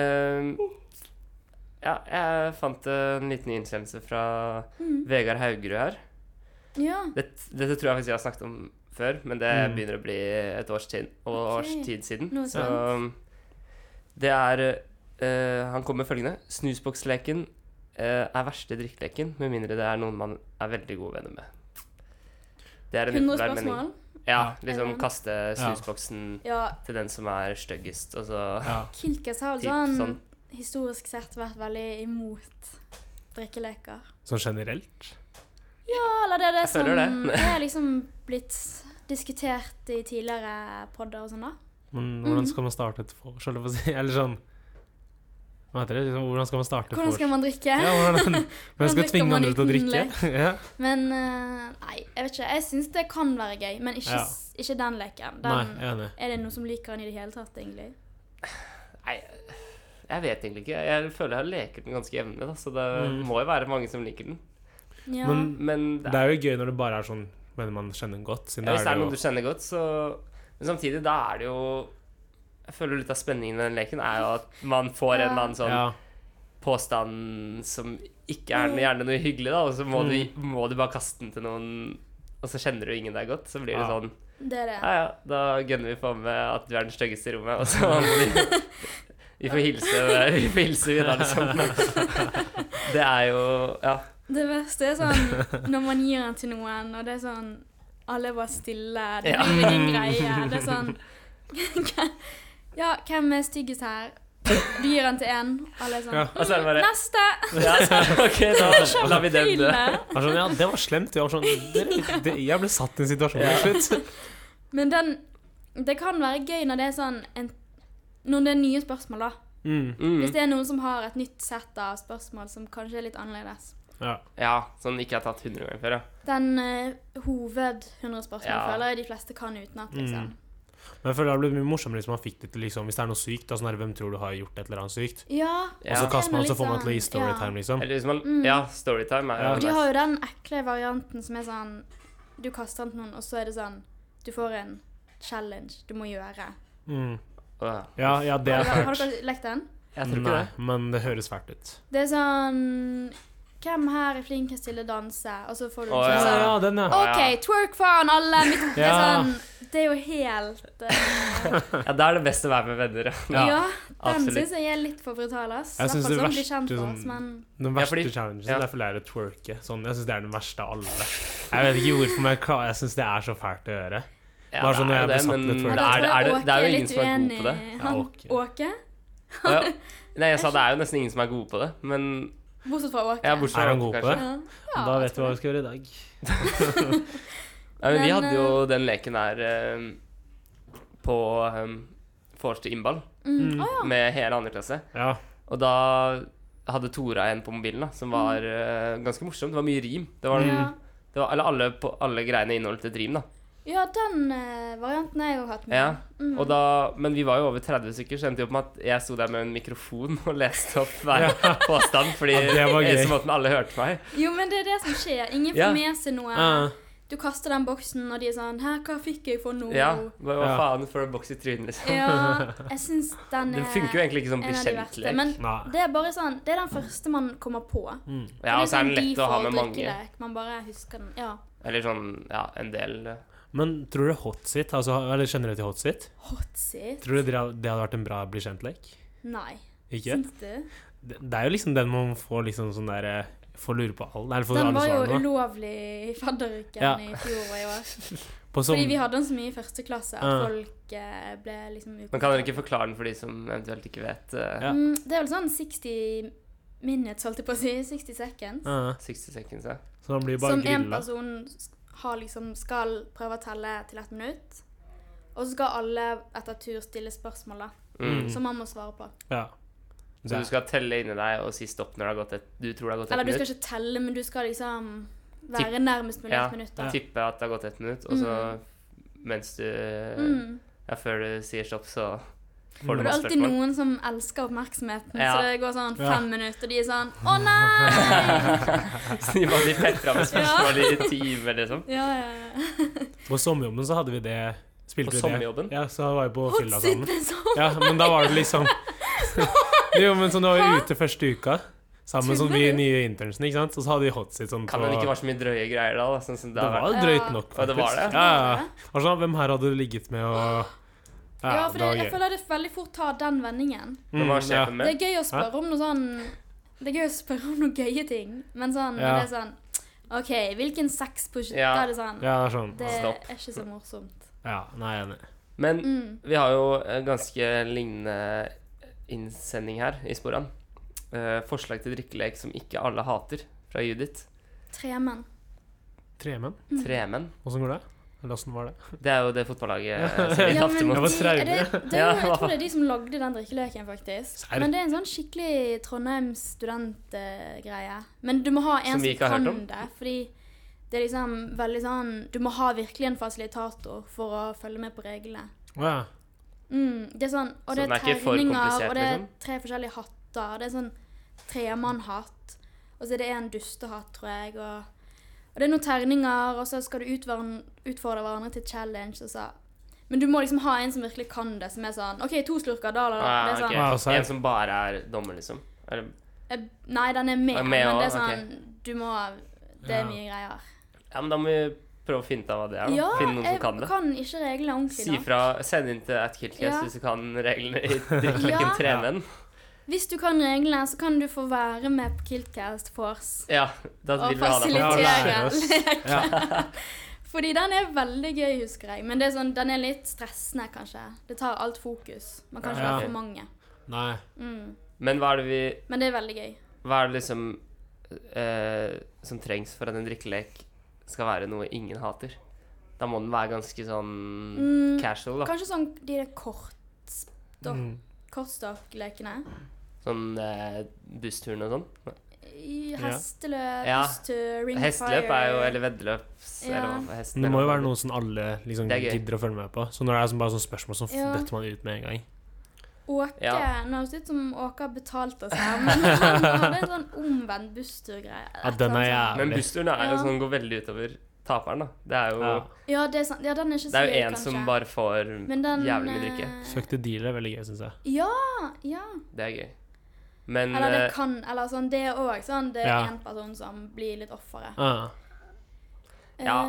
Speaker 1: Ehm, ja, jeg fant eh, en liten innsendelse fra
Speaker 3: Mm.
Speaker 1: Vegard Haugerud her.
Speaker 3: Ja.
Speaker 1: Dette, dette tror jeg faktisk jeg har snakket om før, men det
Speaker 2: Mm.
Speaker 1: begynner å bli et års tid, og
Speaker 3: Ok.
Speaker 1: års tid siden.
Speaker 3: Noe
Speaker 1: Så det er eh, Han kommer med følgende. Snusboksleken eh, er verste drikkeleken, med mindre det er noen man er veldig gode venner med. Det er en
Speaker 3: 100
Speaker 1: upopulær mening.
Speaker 3: spørsmål?
Speaker 1: Ja, liksom
Speaker 3: Eller-
Speaker 1: kaste snusboksen
Speaker 3: Ja.
Speaker 1: til den som er styggest, og så
Speaker 2: Ja.
Speaker 3: Kilkes har
Speaker 1: Typ
Speaker 3: altså han
Speaker 1: sånn.
Speaker 3: historisk sett vært veldig imot drikkeleker.
Speaker 2: Sånn generelt.
Speaker 3: Ja, eller det er
Speaker 1: Jeg
Speaker 3: det som
Speaker 1: føler det.
Speaker 3: det er liksom blitt diskutert i tidligere podder og sånn, da.
Speaker 2: Men hvordan
Speaker 3: Mhm.
Speaker 2: skal man starte et vors, holdt jeg på å si? Eller sånn Hva heter det? Liksom, Hvordan skal man starte et
Speaker 3: Hvordan skal
Speaker 2: vors?
Speaker 3: man drikke?
Speaker 2: Ja, hvordan, hvordan skal
Speaker 3: drikker
Speaker 2: jeg tvinge
Speaker 3: man
Speaker 2: andre til å
Speaker 3: uten
Speaker 2: drikke? ja.
Speaker 3: Men eh, nei, jeg vet ikke. Jeg syns det kan være gøy, men ikke,
Speaker 2: Ja.
Speaker 3: s- ikke den leken.
Speaker 2: Nei,
Speaker 3: Den,
Speaker 2: jeg er enig.
Speaker 3: er det noen som liker den i det hele tatt, egentlig?
Speaker 1: Nei, jeg vet egentlig ikke. Jeg føler jeg har leket den ganske jevnlig, da, så det
Speaker 2: Mm.
Speaker 1: må jo være mange som liker den.
Speaker 3: Ja.
Speaker 2: Men
Speaker 1: Men det
Speaker 2: det
Speaker 1: er,
Speaker 2: er jo gøy når det bare er sånn venner man kjenner godt. Siden
Speaker 1: hvis det er
Speaker 2: jo-
Speaker 1: noen du kjenner godt, så Men samtidig, da er det jo Jeg føler litt av spenningen i den leken er jo at man får en eller annen sånn
Speaker 2: ja.
Speaker 1: påstand som ikke er noe- gjerne noe hyggelig, da, og så må,
Speaker 2: Mm.
Speaker 1: du, må du bare kaste den til noen, og så kjenner du ingen deg godt. Så blir det
Speaker 2: Ja.
Speaker 1: sånn
Speaker 3: det er det.
Speaker 1: Ja, ja, da gønner vi på med at du er den styggeste i rommet, og så vi, vi får hilse Vi får hilse videre, liksom. Det er jo Ja.
Speaker 3: Det verste er sånn når man gir den til noen, og det er sånn Alle er bare stille, det
Speaker 1: Ja.
Speaker 3: er ingen greie. Det er sånn Ja, hvem er styggest her? Du gir den til én, alle er sånn
Speaker 2: Ja.
Speaker 1: Og så er det bare
Speaker 3: Neste!
Speaker 1: ja, så, OK, da lar vi den dø.
Speaker 3: Tydelig.
Speaker 2: Det er sånn, ja, det var slemt. Jeg, var sånn, det, det, jeg ble satt i en situasjon
Speaker 1: Ja.
Speaker 2: til slutt.
Speaker 3: Men den Det kan være gøy når det er sånn en, Når det er nye spørsmål, da.
Speaker 2: Mm.
Speaker 3: Hvis
Speaker 1: Mm.
Speaker 3: det er noen som har et nytt sett av spørsmål som kanskje er litt annerledes.
Speaker 2: Ja.
Speaker 1: Ja, sånn ikke har tatt 100 ganger før, ja.
Speaker 3: Den eh, hoved 100 spørsmål
Speaker 1: Ja.
Speaker 3: føler jeg de fleste kan utenat,
Speaker 2: Mm.
Speaker 3: liksom.
Speaker 2: Men jeg føler det blir mye morsommere hvis man fikk det til liksom, Hvis det er noe sykt, da, sånn der, hvem tror du har gjort et eller annet sykt?
Speaker 3: Ja.
Speaker 2: Og så
Speaker 1: Ja.
Speaker 2: kaster man, så får man til å gi
Speaker 3: Liksom, ja.
Speaker 2: storytime, liksom.
Speaker 1: Eller hvis man Ja, Storytime er jo
Speaker 2: Ja.
Speaker 3: Mm. De
Speaker 1: nice.
Speaker 3: har jo den ekle varianten som er sånn Du kaster den til noen, og så er det sånn Du får en challenge du må gjøre.
Speaker 2: Mm.
Speaker 1: Åh,
Speaker 2: Ja, ja, det er
Speaker 3: Har, har
Speaker 2: fælt.
Speaker 3: dere lekt den?
Speaker 1: Jeg tror ikke
Speaker 2: Nei,
Speaker 1: det.
Speaker 2: men det høres fælt ut.
Speaker 3: Det er sånn Hvem her er flinkest til å danse? Og så får du
Speaker 1: Å,
Speaker 3: liksom
Speaker 1: ja,
Speaker 2: Ja, ja,
Speaker 3: sånn
Speaker 2: den, ja.
Speaker 3: OK, twerk foran alle! Mitt, det, er
Speaker 2: Ja.
Speaker 3: sånn, det er jo helt eh,
Speaker 1: Ja, Det er det beste å være med venner. ja.
Speaker 2: Ja,
Speaker 3: Ja, den
Speaker 1: absolutt.
Speaker 3: syns jeg er litt for brutal, ass.
Speaker 2: Jeg
Speaker 3: Jeg
Speaker 2: synes
Speaker 3: syns det
Speaker 2: det
Speaker 3: verste
Speaker 2: verste
Speaker 1: liksom.
Speaker 3: sånn,
Speaker 2: sånn-
Speaker 3: men,
Speaker 2: Den
Speaker 1: Ja,
Speaker 2: verste
Speaker 1: fordi-
Speaker 2: challengen
Speaker 1: ja.
Speaker 2: derfor er å twerke. Sånn, jeg syns det er den verste av alle. Jeg vet ikke hvorfor, men jeg klarer- jeg syns det er så fælt å gjøre.
Speaker 1: Ja,
Speaker 2: Bare
Speaker 1: det er
Speaker 2: sånn når jeg
Speaker 1: jo
Speaker 2: blir satt
Speaker 1: men
Speaker 2: litt for-
Speaker 1: det er,
Speaker 3: Men da
Speaker 1: det, er,
Speaker 3: tror jeg
Speaker 1: det, det er jo
Speaker 3: Åke
Speaker 1: ingen som er god
Speaker 3: litt
Speaker 1: på det.
Speaker 3: uenig i
Speaker 2: Ja,
Speaker 3: han.
Speaker 2: Åke.
Speaker 3: Åke?
Speaker 1: Å, ja. Nei, jeg sa det er jo nesten ingen som er gode på det, men
Speaker 3: Bortsett fra Åke.
Speaker 1: ja, bortsett
Speaker 2: Er
Speaker 1: fra
Speaker 2: han god på
Speaker 1: kanskje.
Speaker 2: det?
Speaker 3: Ja. Ja,
Speaker 2: Da
Speaker 3: jeg
Speaker 2: vet vi
Speaker 3: tror
Speaker 2: hva
Speaker 3: det.
Speaker 2: vi skal gjøre i dag.
Speaker 1: Ja, men vi
Speaker 3: Men,
Speaker 1: hadde jo den leken her eh, på um, vors til innball
Speaker 3: Mm.
Speaker 2: Mm.
Speaker 3: Å, ja.
Speaker 1: med hele andre klasse.
Speaker 2: Ja.
Speaker 1: Og da hadde Tora en på mobilen da, som var eh, ganske morsom. Det var mye rim. Det var,
Speaker 3: Mm. Ja.
Speaker 1: det var, eller alle, på, alle greiene inneholdt et rim, da.
Speaker 3: ja, den eh, varianten har jeg jo hatt med.
Speaker 1: Ja.
Speaker 3: Mm.
Speaker 1: Og da, men vi var jo over 30 stykker, så endte det opp med at jeg sto der med en mikrofon og leste opp hver påstand, fordi
Speaker 2: Ja, det var gøy.
Speaker 1: eneste måten alle hørte meg.
Speaker 3: Jo, men det er det som skjer. Ingen får
Speaker 1: Ja.
Speaker 3: med seg noe.
Speaker 2: Ja.
Speaker 3: Du kaster den boksen, og de er sånn Her, hva fikk jeg for noe?
Speaker 1: Ja, hva hva
Speaker 2: Ja.
Speaker 1: faen for en boks i trynet, liksom.
Speaker 3: Oh. Ja, jeg syns den er
Speaker 1: Det funker jo egentlig ikke som liksom.
Speaker 3: en av de verste.
Speaker 1: bekjentlek.
Speaker 3: Men
Speaker 2: Nei.
Speaker 3: det er bare sånn Det er den første man kommer på.
Speaker 2: Mm.
Speaker 3: liksom
Speaker 1: Ja, og så er den
Speaker 3: sånn
Speaker 1: lett å ha med mange.
Speaker 3: drikkelek. Man bare husker den. Ja.
Speaker 1: Eller sånn, ja, en del eh,
Speaker 2: Men tror dere hot sit, altså, eller kjenner dere til hot sit?
Speaker 3: Hot seat?
Speaker 2: Tror dere det hadde- det hadde vært en bra bli kjent-lek?
Speaker 3: Nei.
Speaker 2: Ikke?
Speaker 3: Syns du?
Speaker 2: Det det er jo liksom den man får liksom sånn der eh, får lure på alle. Eller får
Speaker 3: Den
Speaker 2: alle
Speaker 3: var jo
Speaker 2: svarene. da.
Speaker 3: ulovlig i fadderuken
Speaker 2: Ja.
Speaker 3: i fjor og i år.
Speaker 2: På som, Ah.
Speaker 3: Fordi vi hadde den så mye i første klasse at
Speaker 2: Ja.
Speaker 3: folk eh, ble liksom
Speaker 1: Man kan dere ikke forklare den for de som eventuelt ikke vet. eh,
Speaker 2: Ja.
Speaker 3: Mm, Det er vel sånn 60 minutes, holdt jeg på å si. 60 seconds.
Speaker 2: Ja,
Speaker 1: 60 seconds, ja.
Speaker 2: så han blir Ah, bare
Speaker 3: Som en
Speaker 2: grilla.
Speaker 3: person s- har liksom skal prøve å telle til ett minutt. Og så skal alle etter tur stille spørsmål da,
Speaker 1: Mm.
Speaker 2: Mm.
Speaker 3: som man må svare på.
Speaker 2: Ja.
Speaker 1: Så du skal telle inni deg og si stopp når det har gått et, du tror det har gått
Speaker 3: Eller
Speaker 1: ett
Speaker 3: du skal
Speaker 1: minutt.
Speaker 3: ikke telle, men du skal liksom være nærmest mulig
Speaker 1: Ja.
Speaker 3: ett minutt. da.
Speaker 1: Tippe at det har gått ett minutt, og så mens du
Speaker 3: Mm.
Speaker 1: Ja, før du sier stopp, så får
Speaker 2: Mm.
Speaker 1: du
Speaker 3: Og det er
Speaker 1: masse
Speaker 3: alltid
Speaker 1: spørsmål.
Speaker 3: noen som elsker oppmerksomheten,
Speaker 1: Ja.
Speaker 3: så det går sånn
Speaker 2: Ja.
Speaker 3: fem minutter, og de er sånn Å nei!
Speaker 1: Så de bare petter av med spørsmål i timer, liksom.
Speaker 3: Ja, ja, ja.
Speaker 2: På sommerjobben så hadde vi det. Spilte
Speaker 1: På
Speaker 2: vi det.
Speaker 1: sommerjobben?
Speaker 2: Ja, så var jeg på
Speaker 3: Hot
Speaker 2: fylla
Speaker 3: seat
Speaker 2: sammen.
Speaker 3: med sånn
Speaker 2: Ja, men da var det liksom Jo, men sånn, da var vi ute første uka. Sammen som vi
Speaker 3: Tuller du?
Speaker 2: nye internsene, ikke sant. Og så hadde vi hot seat sånn
Speaker 1: Kan
Speaker 2: på-
Speaker 1: det ikke være så mye drøye greier da? da sånn som det
Speaker 2: Det
Speaker 1: har vært?
Speaker 2: var drøyt nok,
Speaker 1: Ja, det var det.
Speaker 2: Ja, ja, ja. Og sånn, hvem her hadde du ligget med og
Speaker 3: Ja, for det, jeg
Speaker 2: var gøy.
Speaker 3: føler det veldig fort tar den vendingen.
Speaker 1: Hvem var
Speaker 2: Mm, ja.
Speaker 1: sjefen
Speaker 3: Det er
Speaker 1: med?
Speaker 3: gøy å spørre om noe sånn Det er gøy å spørre om noen gøye ting, men sånn
Speaker 2: Ja.
Speaker 3: det er sånn OK, hvilken sex på skjøtta
Speaker 1: Ja.
Speaker 3: er det sånn?
Speaker 2: Ja, det er sånn.
Speaker 3: Det er
Speaker 1: Stopp.
Speaker 3: ikke så morsomt.
Speaker 2: Ja, nei, jeg er enig.
Speaker 1: Men
Speaker 3: Mm.
Speaker 1: vi har jo en ganske lignende innsending her i sporene. Eh, forslag til drikkelek som ikke alle hater, fra Judith.
Speaker 3: Tre menn.
Speaker 2: Tremenn?
Speaker 3: Mm.
Speaker 1: Tremenn.
Speaker 2: Åssen går det? Eller åssen var det?
Speaker 1: Det er jo det fotballaget eh, som vi
Speaker 3: Ja,
Speaker 1: tapte
Speaker 3: men de,
Speaker 1: mot.
Speaker 2: var
Speaker 3: er det, det er jo,
Speaker 1: Ja.
Speaker 3: jeg tror det er de som lagde den drikkeleken, faktisk.
Speaker 2: Serr?
Speaker 3: Men det er en sånn skikkelig Trondheim studentgreie. Men du må ha en
Speaker 1: Som
Speaker 3: som,
Speaker 1: vi ikke har hørt
Speaker 3: kan
Speaker 1: om?
Speaker 3: det, fordi det er liksom veldig sånn Du må ha virkelig en fasilitator for å følge med på reglene.
Speaker 2: Å ja.
Speaker 3: Mm, det er sånn,
Speaker 1: Så
Speaker 3: og det
Speaker 1: den er
Speaker 3: er
Speaker 1: ikke for
Speaker 3: terninger,
Speaker 1: komplisert,
Speaker 3: og det er
Speaker 1: liksom?
Speaker 3: tre forskjellige hatter. og Det er sånn tremannhatt, og så er det en dustehatt, tror jeg. Og, og det er noen terninger, og så skal du utvern- utfordre hverandre til challenge. Og så. Men du må liksom ha en som virkelig kan det, som er sånn OK, to slurker, da, da, da.
Speaker 1: Ah,
Speaker 3: Det er sånn,
Speaker 1: ok.
Speaker 2: Wow, serr.
Speaker 1: En som bare er dommer, liksom. Eller,
Speaker 3: eh, Nei, den er med,
Speaker 1: Den er med,
Speaker 3: men det
Speaker 1: ja,
Speaker 3: er sånn Du må Det
Speaker 2: Ja.
Speaker 3: er mye greier.
Speaker 1: ja, men da må vi prøve å finne ut av hva det er. Da.
Speaker 3: Ja,
Speaker 1: finne noen
Speaker 3: jeg
Speaker 1: som kan det.
Speaker 3: kan ikke reglene ordentlig.
Speaker 1: Si
Speaker 3: da.
Speaker 1: fra, send inn til Atkilt
Speaker 3: Ja.
Speaker 1: hvis du kan reglene i drikkelekken
Speaker 3: Ja.
Speaker 1: Tremenn.
Speaker 3: Hvis du kan reglene, så kan du få være med på Kiltcast Force.
Speaker 1: Ja, da
Speaker 3: og
Speaker 1: vil vi ha deg på.
Speaker 2: fasilitert. Ja,
Speaker 3: fasilitere
Speaker 2: lære oss.
Speaker 3: leken. Fordi den er veldig gøy, husker jeg. Men det er sånn, den er litt stressende, kanskje. Det tar alt fokus. Man kan ikke
Speaker 2: Ja.
Speaker 3: være for mange.
Speaker 2: Nei.
Speaker 3: Mm.
Speaker 1: Men hva er det vi
Speaker 3: Men det er veldig gøy.
Speaker 1: Hva er det liksom eh, som trengs for at en drikkelek skal være noe ingen hater? Da må den være ganske sånn
Speaker 3: Mm.
Speaker 1: casual, da.
Speaker 3: Kanskje sånn de der kortstokk-
Speaker 2: Mm.
Speaker 3: kortstokklekene.
Speaker 1: Sånn eh, bussturn og sånn.
Speaker 3: I
Speaker 2: Ja.
Speaker 3: Hesteløp,
Speaker 1: Ja.
Speaker 3: busstur, ring
Speaker 1: Hesteløp
Speaker 3: fire.
Speaker 1: er jo Eller veddeløp. s-
Speaker 3: Ja.
Speaker 1: Eller hva hesten
Speaker 2: Men det må
Speaker 1: eller
Speaker 2: jo
Speaker 1: hva
Speaker 2: være noe som alle liksom
Speaker 1: Det er gøy.
Speaker 2: gidder å følge med på. Så når det er sånn, bare sånne spørsmål, så f-
Speaker 3: Ja.
Speaker 2: detter man ut med en gang.
Speaker 3: Åke
Speaker 1: Ja.
Speaker 3: Nå høres det ut som Åke har betalt oss her, men han hadde en sånn omvendt bussturgreie.
Speaker 2: Ja, den er
Speaker 1: heter.
Speaker 2: jævlig.
Speaker 1: Men bussturen er jo
Speaker 3: Ja.
Speaker 1: sånn går veldig utover taperen, da. Det er jo
Speaker 2: Ja.
Speaker 3: Ja, det er sant. Ja, den er ikke
Speaker 1: Det
Speaker 3: så
Speaker 1: er
Speaker 3: gøy,
Speaker 1: jo en som
Speaker 3: kanskje.
Speaker 1: bare får
Speaker 3: Men den,
Speaker 1: jævlig mye drikke.
Speaker 3: eh,
Speaker 2: Søk til dealer er veldig gøy, syns jeg.
Speaker 3: Ja, ja.
Speaker 1: Det er gøy. Men
Speaker 3: Eller det
Speaker 1: eh,
Speaker 3: kan Eller sånn, det er òg sånn. Det er
Speaker 2: Ja.
Speaker 3: én person som blir litt offeret. Ehm,
Speaker 2: Ah.
Speaker 1: Ja,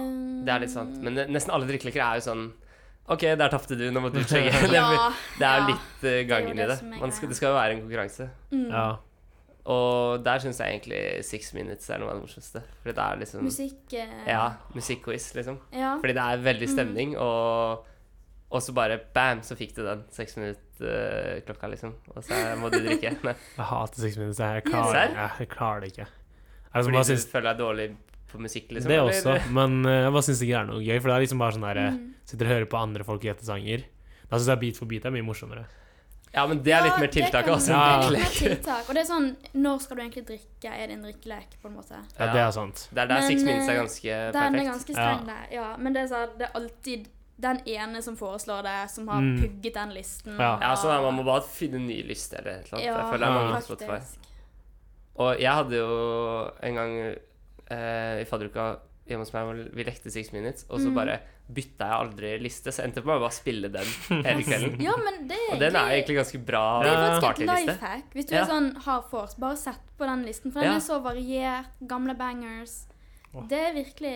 Speaker 1: det er litt sant. Men eh, nesten alle drikkeleker er jo sånn OK, der tapte du, nå må du chugge.
Speaker 3: Eh,
Speaker 1: Det er-
Speaker 3: ja,
Speaker 1: Det er
Speaker 3: ja.
Speaker 1: jo litt eh, gangen
Speaker 3: det
Speaker 1: i det.
Speaker 3: som er
Speaker 1: Man skal,
Speaker 3: greia.
Speaker 1: det skal jo være en konkurranse.
Speaker 3: Mm.
Speaker 2: Ja.
Speaker 1: Og der syns jeg egentlig Six Minutes er noe av det morsomste. Fordi det er liksom
Speaker 3: Musikk eh,
Speaker 1: Ja, musikkquiz, liksom.
Speaker 3: ja.
Speaker 1: Fordi det er
Speaker 3: Mm.
Speaker 1: veldig stemning, og, og så bare bam, så fikk du den seks minutter-klokka, liksom. Og så må du drikke. Nei,
Speaker 2: Jeg hater seks minutter. Jeg
Speaker 3: Gjør du
Speaker 2: klarer,
Speaker 1: det?
Speaker 2: jeg, jeg klarer det ikke. Jeg liksom
Speaker 1: fordi
Speaker 2: bare
Speaker 1: du
Speaker 2: syns
Speaker 1: føler deg dårlig på musikk, liksom.
Speaker 2: det
Speaker 1: eller?
Speaker 2: også, men eh, jeg bare syns ikke det er noe gøy. For det er liksom bare sånn der eh, Sitter og hører på andre folk gjette sanger. Da syns jeg Beat for beat er mye morsommere.
Speaker 1: Ja, men det er litt
Speaker 3: Ja,
Speaker 1: mer tiltak
Speaker 3: kan-
Speaker 1: også.
Speaker 3: det
Speaker 2: Ja.
Speaker 1: enn
Speaker 3: er litt mer
Speaker 1: drikkelek.
Speaker 3: tiltak. Og det er sånn Når skal du egentlig drikke? Er det en drikkelek, på en måte?
Speaker 2: Ja,
Speaker 1: Ja.
Speaker 2: Det er sant.
Speaker 1: Det er der
Speaker 3: Men,
Speaker 1: Six Minutes er
Speaker 3: eh,
Speaker 1: ganske
Speaker 3: Den er
Speaker 1: perfekt.
Speaker 3: ganske streng, der. Ja, men det er, sånn, det er alltid den ene som foreslår det, som har
Speaker 2: Mm.
Speaker 3: pugget den listen.
Speaker 2: Ja.
Speaker 1: Ja, sånn er, Man må bare finne en ny lyst eller et eller annet.
Speaker 3: Ja,
Speaker 1: jeg føler det er mange på
Speaker 3: faktisk.
Speaker 1: Spotify. Og jeg hadde jo en gang eh, i fadderuka hjemme hos meg hvor vi lekte Six Minutes, og
Speaker 3: Mm.
Speaker 1: så bare bytta jeg aldri liste, så endte jeg på med å bare spille den hele kvelden.
Speaker 3: Ja, men det er
Speaker 1: Og den er egentlig ganske bra
Speaker 3: Det er faktisk et
Speaker 1: partyliste.
Speaker 3: life hack. Hvis du
Speaker 1: Eh, Ja.
Speaker 3: er sånn hard force, bare sett på den listen. For den
Speaker 1: Ja.
Speaker 3: er så variert. Gamle bangers. Det er virkelig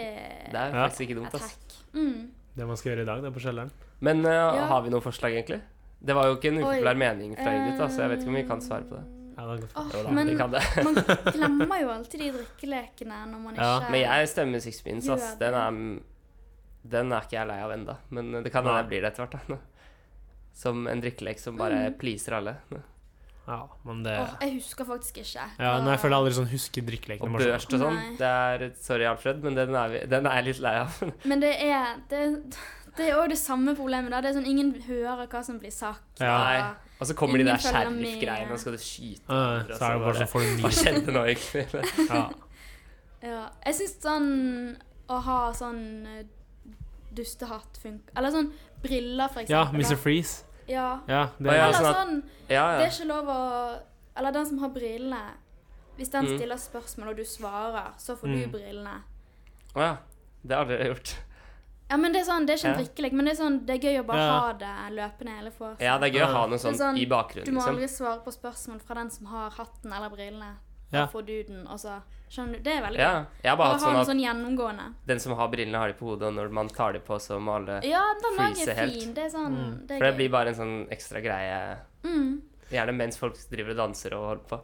Speaker 1: Det er
Speaker 2: Ja.
Speaker 1: faktisk ikke dumt,
Speaker 3: et
Speaker 1: ass.
Speaker 3: hack. Mm.
Speaker 2: Det man skal gjøre i dag, det er på kjelleren.
Speaker 1: Men eh,
Speaker 3: Ja.
Speaker 1: har vi noen forslag, egentlig? Det var jo ikke en
Speaker 3: Oi.
Speaker 1: upopulær mening fra Judith, da, så jeg vet altså. ikke om vi kan svare på det.
Speaker 3: Eh,
Speaker 2: Ja, det er godt.
Speaker 3: Åh,
Speaker 1: Jo da,
Speaker 3: men
Speaker 1: vi kan det.
Speaker 3: man glemmer jo alltid de drikkelekene når man ikke
Speaker 2: Ja,
Speaker 1: Men jeg stemmer Six Minutes, ass.
Speaker 3: Gjør det.
Speaker 1: Den er, den er ikke jeg lei av enda Men det kan hende jeg blir det etter hvert. da. Som en drikkelek som bare
Speaker 3: Mm.
Speaker 1: pleaser alle.
Speaker 2: Ja, men det
Speaker 3: Åh, jeg husker faktisk ikke.
Speaker 2: Ja, nei, jeg føler aldri sånn husker drikkeleken.
Speaker 1: Og
Speaker 2: var sånn-
Speaker 1: børst og sånn.
Speaker 3: Nei.
Speaker 1: Det er, sorry, Alfred, men den er, vi, den er jeg litt lei av.
Speaker 3: Men det er det, det er òg det samme problemet. da. Det er sånn Ingen hører hva som blir sagt.
Speaker 2: Ja.
Speaker 3: og-
Speaker 1: Og så kommer de
Speaker 3: Ingen
Speaker 1: der
Speaker 3: følger med.
Speaker 1: sheriff-greiene, og så skal du skyte
Speaker 2: Ja,
Speaker 1: andre, og
Speaker 2: så er det bare sånn får du
Speaker 1: Hva
Speaker 2: ny
Speaker 1: skjedde nå, egentlig?
Speaker 2: ja.
Speaker 3: Ja. Jeg syns sånn å ha sånn eh, dustehatt funker. Eller sånn briller, for
Speaker 2: ja,
Speaker 3: eksempel.
Speaker 2: Mr.
Speaker 3: da.
Speaker 2: Freeze.
Speaker 3: Ja.
Speaker 2: Ja, det
Speaker 1: Å, ja,
Speaker 3: Eller
Speaker 1: sånn at-
Speaker 3: sånn
Speaker 1: Ja,
Speaker 3: Det
Speaker 1: ja.
Speaker 3: er ikke lov å Eller den som har brillene. Hvis den
Speaker 1: Mm.
Speaker 3: stiller spørsmål, og du svarer, så får
Speaker 2: Mm.
Speaker 3: du brillene.
Speaker 1: Å ja. Det har dere gjort.
Speaker 3: Ja, men Det er sånn, det er ikke en
Speaker 1: Ja.
Speaker 3: drikkelek, men det er sånn, det er gøy å bare
Speaker 2: Ja.
Speaker 3: ha det løpende hele vorset.
Speaker 1: Ja, det er gøy å ha noe
Speaker 3: Det er sånn,
Speaker 1: sånt i
Speaker 3: Du
Speaker 1: bakgrunnen,
Speaker 3: må
Speaker 1: liksom.
Speaker 3: aldri svare på spørsmål fra den som har hatten eller brillene.
Speaker 2: Ja.
Speaker 3: Da får du den, og så Skjønner du? Det er veldig gøy.
Speaker 1: Ja. Jeg har bare
Speaker 3: Bare
Speaker 1: hatt
Speaker 3: ha
Speaker 1: sånn
Speaker 3: noe
Speaker 1: at
Speaker 3: sånn gjennomgående.
Speaker 1: den som har brillene, har de på hodet, og når man tar de på, så må alle
Speaker 3: Ja, den òg
Speaker 1: Freeze
Speaker 3: er
Speaker 1: helt.
Speaker 3: fin. Det er sånn det
Speaker 1: For det
Speaker 3: er gøy.
Speaker 1: blir bare en sånn ekstra greie.
Speaker 3: Mm.
Speaker 1: Gjerne mens folk driver og danser og holder på.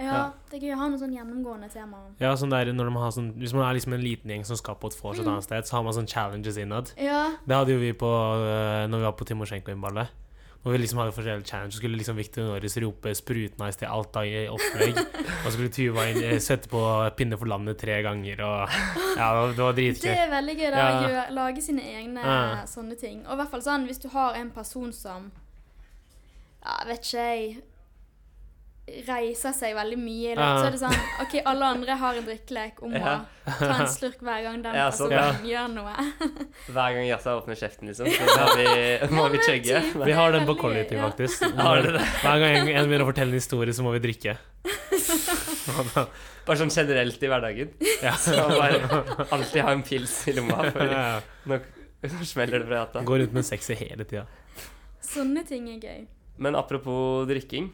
Speaker 3: Ja,
Speaker 2: Ja.
Speaker 3: det er gøy å ha noe sånn gjennomgående tema.
Speaker 2: ja sånn der, når man har sånn, Hvis man er liksom en liten gjeng som skal på et vors et annet sted, så har man sånn challenges innad.
Speaker 3: Ja.
Speaker 2: Det hadde jo vi på øh, Når vi var på Timosjenko-innballet. Hvor vi liksom hadde forskjellige challenges. Så skulle liksom Victor Norris rope 'sprutnice' til alt av opplegg. Og så skulle Tuva inn, eh, sette på 'Pinne for landet' tre ganger. Og ja, det var- det var
Speaker 3: Det
Speaker 2: dritgøy.
Speaker 3: er veldig gøy da, å
Speaker 2: Ja.
Speaker 3: gjøre- lage sine egne
Speaker 2: Ja.
Speaker 3: sånne ting. Og i hvert fall sånn, hvis du har en person som ja, vet ikke jeg reiser seg veldig mye, da,
Speaker 2: Ja.
Speaker 3: så er det sånn OK, alle andre har en drikkelek om
Speaker 1: Ja.
Speaker 3: å ta en slurk hver gang den
Speaker 1: Ja, sånn,
Speaker 3: personen
Speaker 2: ja.
Speaker 3: gjør noe.
Speaker 1: Hver gang Jazza åpner kjeften, liksom, så må vi, må vi chugge.
Speaker 3: typ.
Speaker 2: Vi har den på
Speaker 3: Veldig gøy,
Speaker 2: kollektiv,
Speaker 3: ja.
Speaker 2: faktisk.
Speaker 1: Har dere det?
Speaker 2: Hver gang en- en begynner å fortelle en historie, så må vi drikke.
Speaker 1: Bare sånn generelt i hverdagen.
Speaker 2: Ja.
Speaker 1: Så man bare alltid ha en pils i lomma, for
Speaker 2: Ja, ja.
Speaker 1: nå smeller det fra hjertet.
Speaker 2: Går rundt med sexy hele tida.
Speaker 3: Sånne ting er gøy.
Speaker 1: Men apropos drikking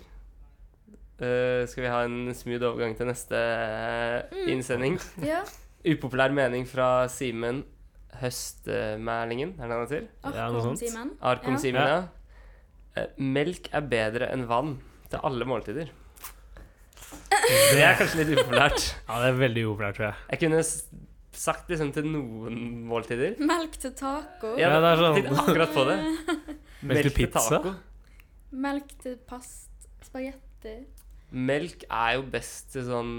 Speaker 1: eh, Skal vi ha en smooth overgang til neste eh,
Speaker 3: Mm.
Speaker 1: innsending?
Speaker 3: Ja.
Speaker 1: Upopulær mening fra Simen Høstmælingen, er det han heter?
Speaker 2: Ja, noe sånt.
Speaker 3: Arkom-Simen.
Speaker 1: Arkom
Speaker 3: Ja.
Speaker 1: Simen, ja. Eh, melk er bedre enn vann til alle måltider. Det er kanskje litt upopulært.
Speaker 2: Ja, det er veldig upopulært, tror jeg.
Speaker 1: Jeg kunne s- sagt liksom til noen måltider.
Speaker 3: Melk til taco.
Speaker 1: Ja,
Speaker 2: Ja, det er sånn.
Speaker 1: Jeg tenkte akkurat på det.
Speaker 2: Melk til pizza?
Speaker 1: taco.
Speaker 3: Melk til past. Spagetti.
Speaker 1: Melk er jo best til sånn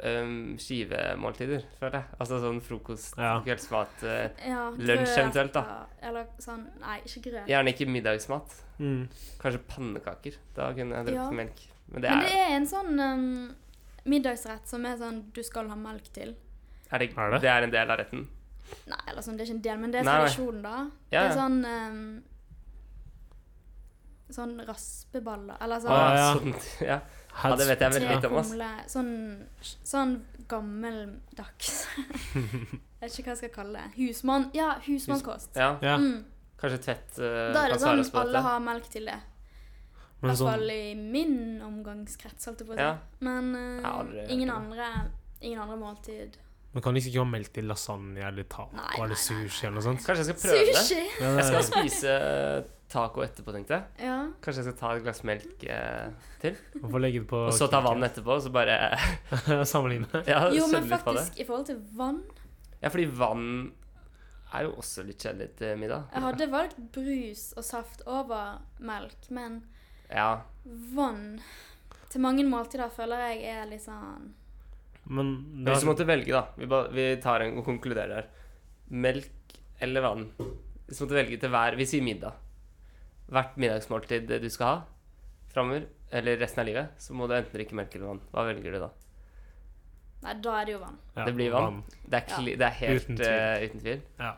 Speaker 1: øhm, skivemåltider, føler jeg. Altså sånn frokost,
Speaker 2: Ja.
Speaker 1: kveldsmat. øh,
Speaker 3: Ja,
Speaker 1: Lunsj
Speaker 3: grøt,
Speaker 1: eventuelt, da.
Speaker 3: Eller sånn Nei, ikke grøt.
Speaker 1: gjerne ikke middagsmat.
Speaker 2: Mm.
Speaker 1: Kanskje pannekaker. Da kunne jeg drukket
Speaker 3: Ja.
Speaker 1: melk. Men det
Speaker 3: Men det
Speaker 1: er,
Speaker 3: er en sånn um, middagsrett som er sånn du skal ha melk til.
Speaker 1: er, det,
Speaker 2: Er det?
Speaker 1: det er en del av retten.
Speaker 3: Nei, eller sånn, det er ikke en del, men det er
Speaker 1: Nei, nei.
Speaker 3: tradisjonen, da.
Speaker 1: Ja,
Speaker 3: Det er
Speaker 1: ja.
Speaker 3: sånn um, Sånn raspeballer, eller
Speaker 1: Å,
Speaker 3: sånn
Speaker 2: Ah,
Speaker 1: ja.
Speaker 2: ja.
Speaker 1: Sånn, ja. ja, det vet jeg veldig lite om. ass.
Speaker 3: trekumle- Sånn, sånn gammeldags Jeg vet ikke hva jeg skal kalle det. Husmann... Ja, husmannkost.
Speaker 1: Ja,
Speaker 2: Ja,
Speaker 3: Mm.
Speaker 1: kanskje Tvedt øh,
Speaker 3: Da er
Speaker 1: kan
Speaker 3: det
Speaker 1: svare
Speaker 3: sånn
Speaker 1: oss på
Speaker 3: alle
Speaker 1: dette.
Speaker 3: har melk til det. I
Speaker 2: men
Speaker 3: hvert fall
Speaker 2: sånn
Speaker 3: i min omgangskrets, holdt jeg på å si.
Speaker 1: Ja.
Speaker 3: Men eh,
Speaker 1: Jeg har aldri hørt
Speaker 3: ingen,
Speaker 1: om
Speaker 3: andre, ingen andre måltid.
Speaker 2: Man kan liksom ikke ha melk til lasagne eller
Speaker 3: Nei,
Speaker 2: taco
Speaker 3: nei,
Speaker 2: eller
Speaker 3: nei.
Speaker 2: sushi eller noe sånt.
Speaker 1: Kanskje jeg skal prøve det?
Speaker 3: Sushi!
Speaker 1: Jeg skal spise øh, taco etterpå, tenkte jeg.
Speaker 3: Ja.
Speaker 1: Kanskje jeg skal ta et glass melk øh, til.
Speaker 2: Man får legge det på
Speaker 1: Og så ta vann etterpå, og så bare
Speaker 2: Sammenligne.
Speaker 1: ja,
Speaker 3: Jo, men
Speaker 1: søle litt på det.
Speaker 3: faktisk, i forhold til vann
Speaker 1: Ja, fordi vann er jo også litt kjedelig til middag.
Speaker 3: Jeg hadde valgt brus og saft over melk, men
Speaker 1: Ja,
Speaker 3: vann til mange måltider føler jeg er litt sånn
Speaker 2: Men det
Speaker 1: Hvis du
Speaker 2: var,
Speaker 1: måtte velge, da. Vi, ba, vi tar en og konkluderer her. Melk eller vann? Hvis du måtte velge til hver Vi sier middag. Hvert middagsmåltid du skal ha framover, eller resten av livet, så må du enten drikke melk eller vann. Hva velger du da?
Speaker 3: Nei, da er det jo vann.
Speaker 2: ja,
Speaker 1: det blir vann. Det er, kli, det er helt
Speaker 2: Uten
Speaker 1: uten
Speaker 2: tvil.
Speaker 1: tvil. uten tvil.
Speaker 2: Ja.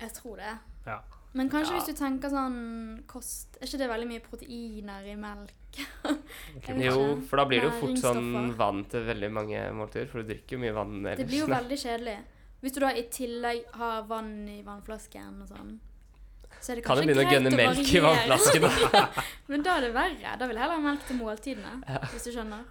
Speaker 3: Jeg tror det.
Speaker 2: Ja.
Speaker 3: Men kanskje
Speaker 1: Ja.
Speaker 3: hvis du tenker sånn kost Er ikke det veldig mye proteiner i melk? Jeg vet
Speaker 1: Jo,
Speaker 3: ikke.
Speaker 1: for da blir det jo fort sånn
Speaker 3: Næringsstoffer.
Speaker 1: vann til veldig mange måltider, for du drikker jo mye vann ellers.
Speaker 3: Det blir jo veldig kjedelig. Hvis du da i tillegg har vann i vannflasken og sånn, så er det
Speaker 1: kan jo
Speaker 3: kanskje
Speaker 1: begynne å
Speaker 3: greit
Speaker 1: gønne
Speaker 3: å
Speaker 1: melk i
Speaker 3: variere.
Speaker 1: vannflasken, da.
Speaker 3: Men da er det verre. Da vil jeg heller ha melk til måltidene, hvis du skjønner.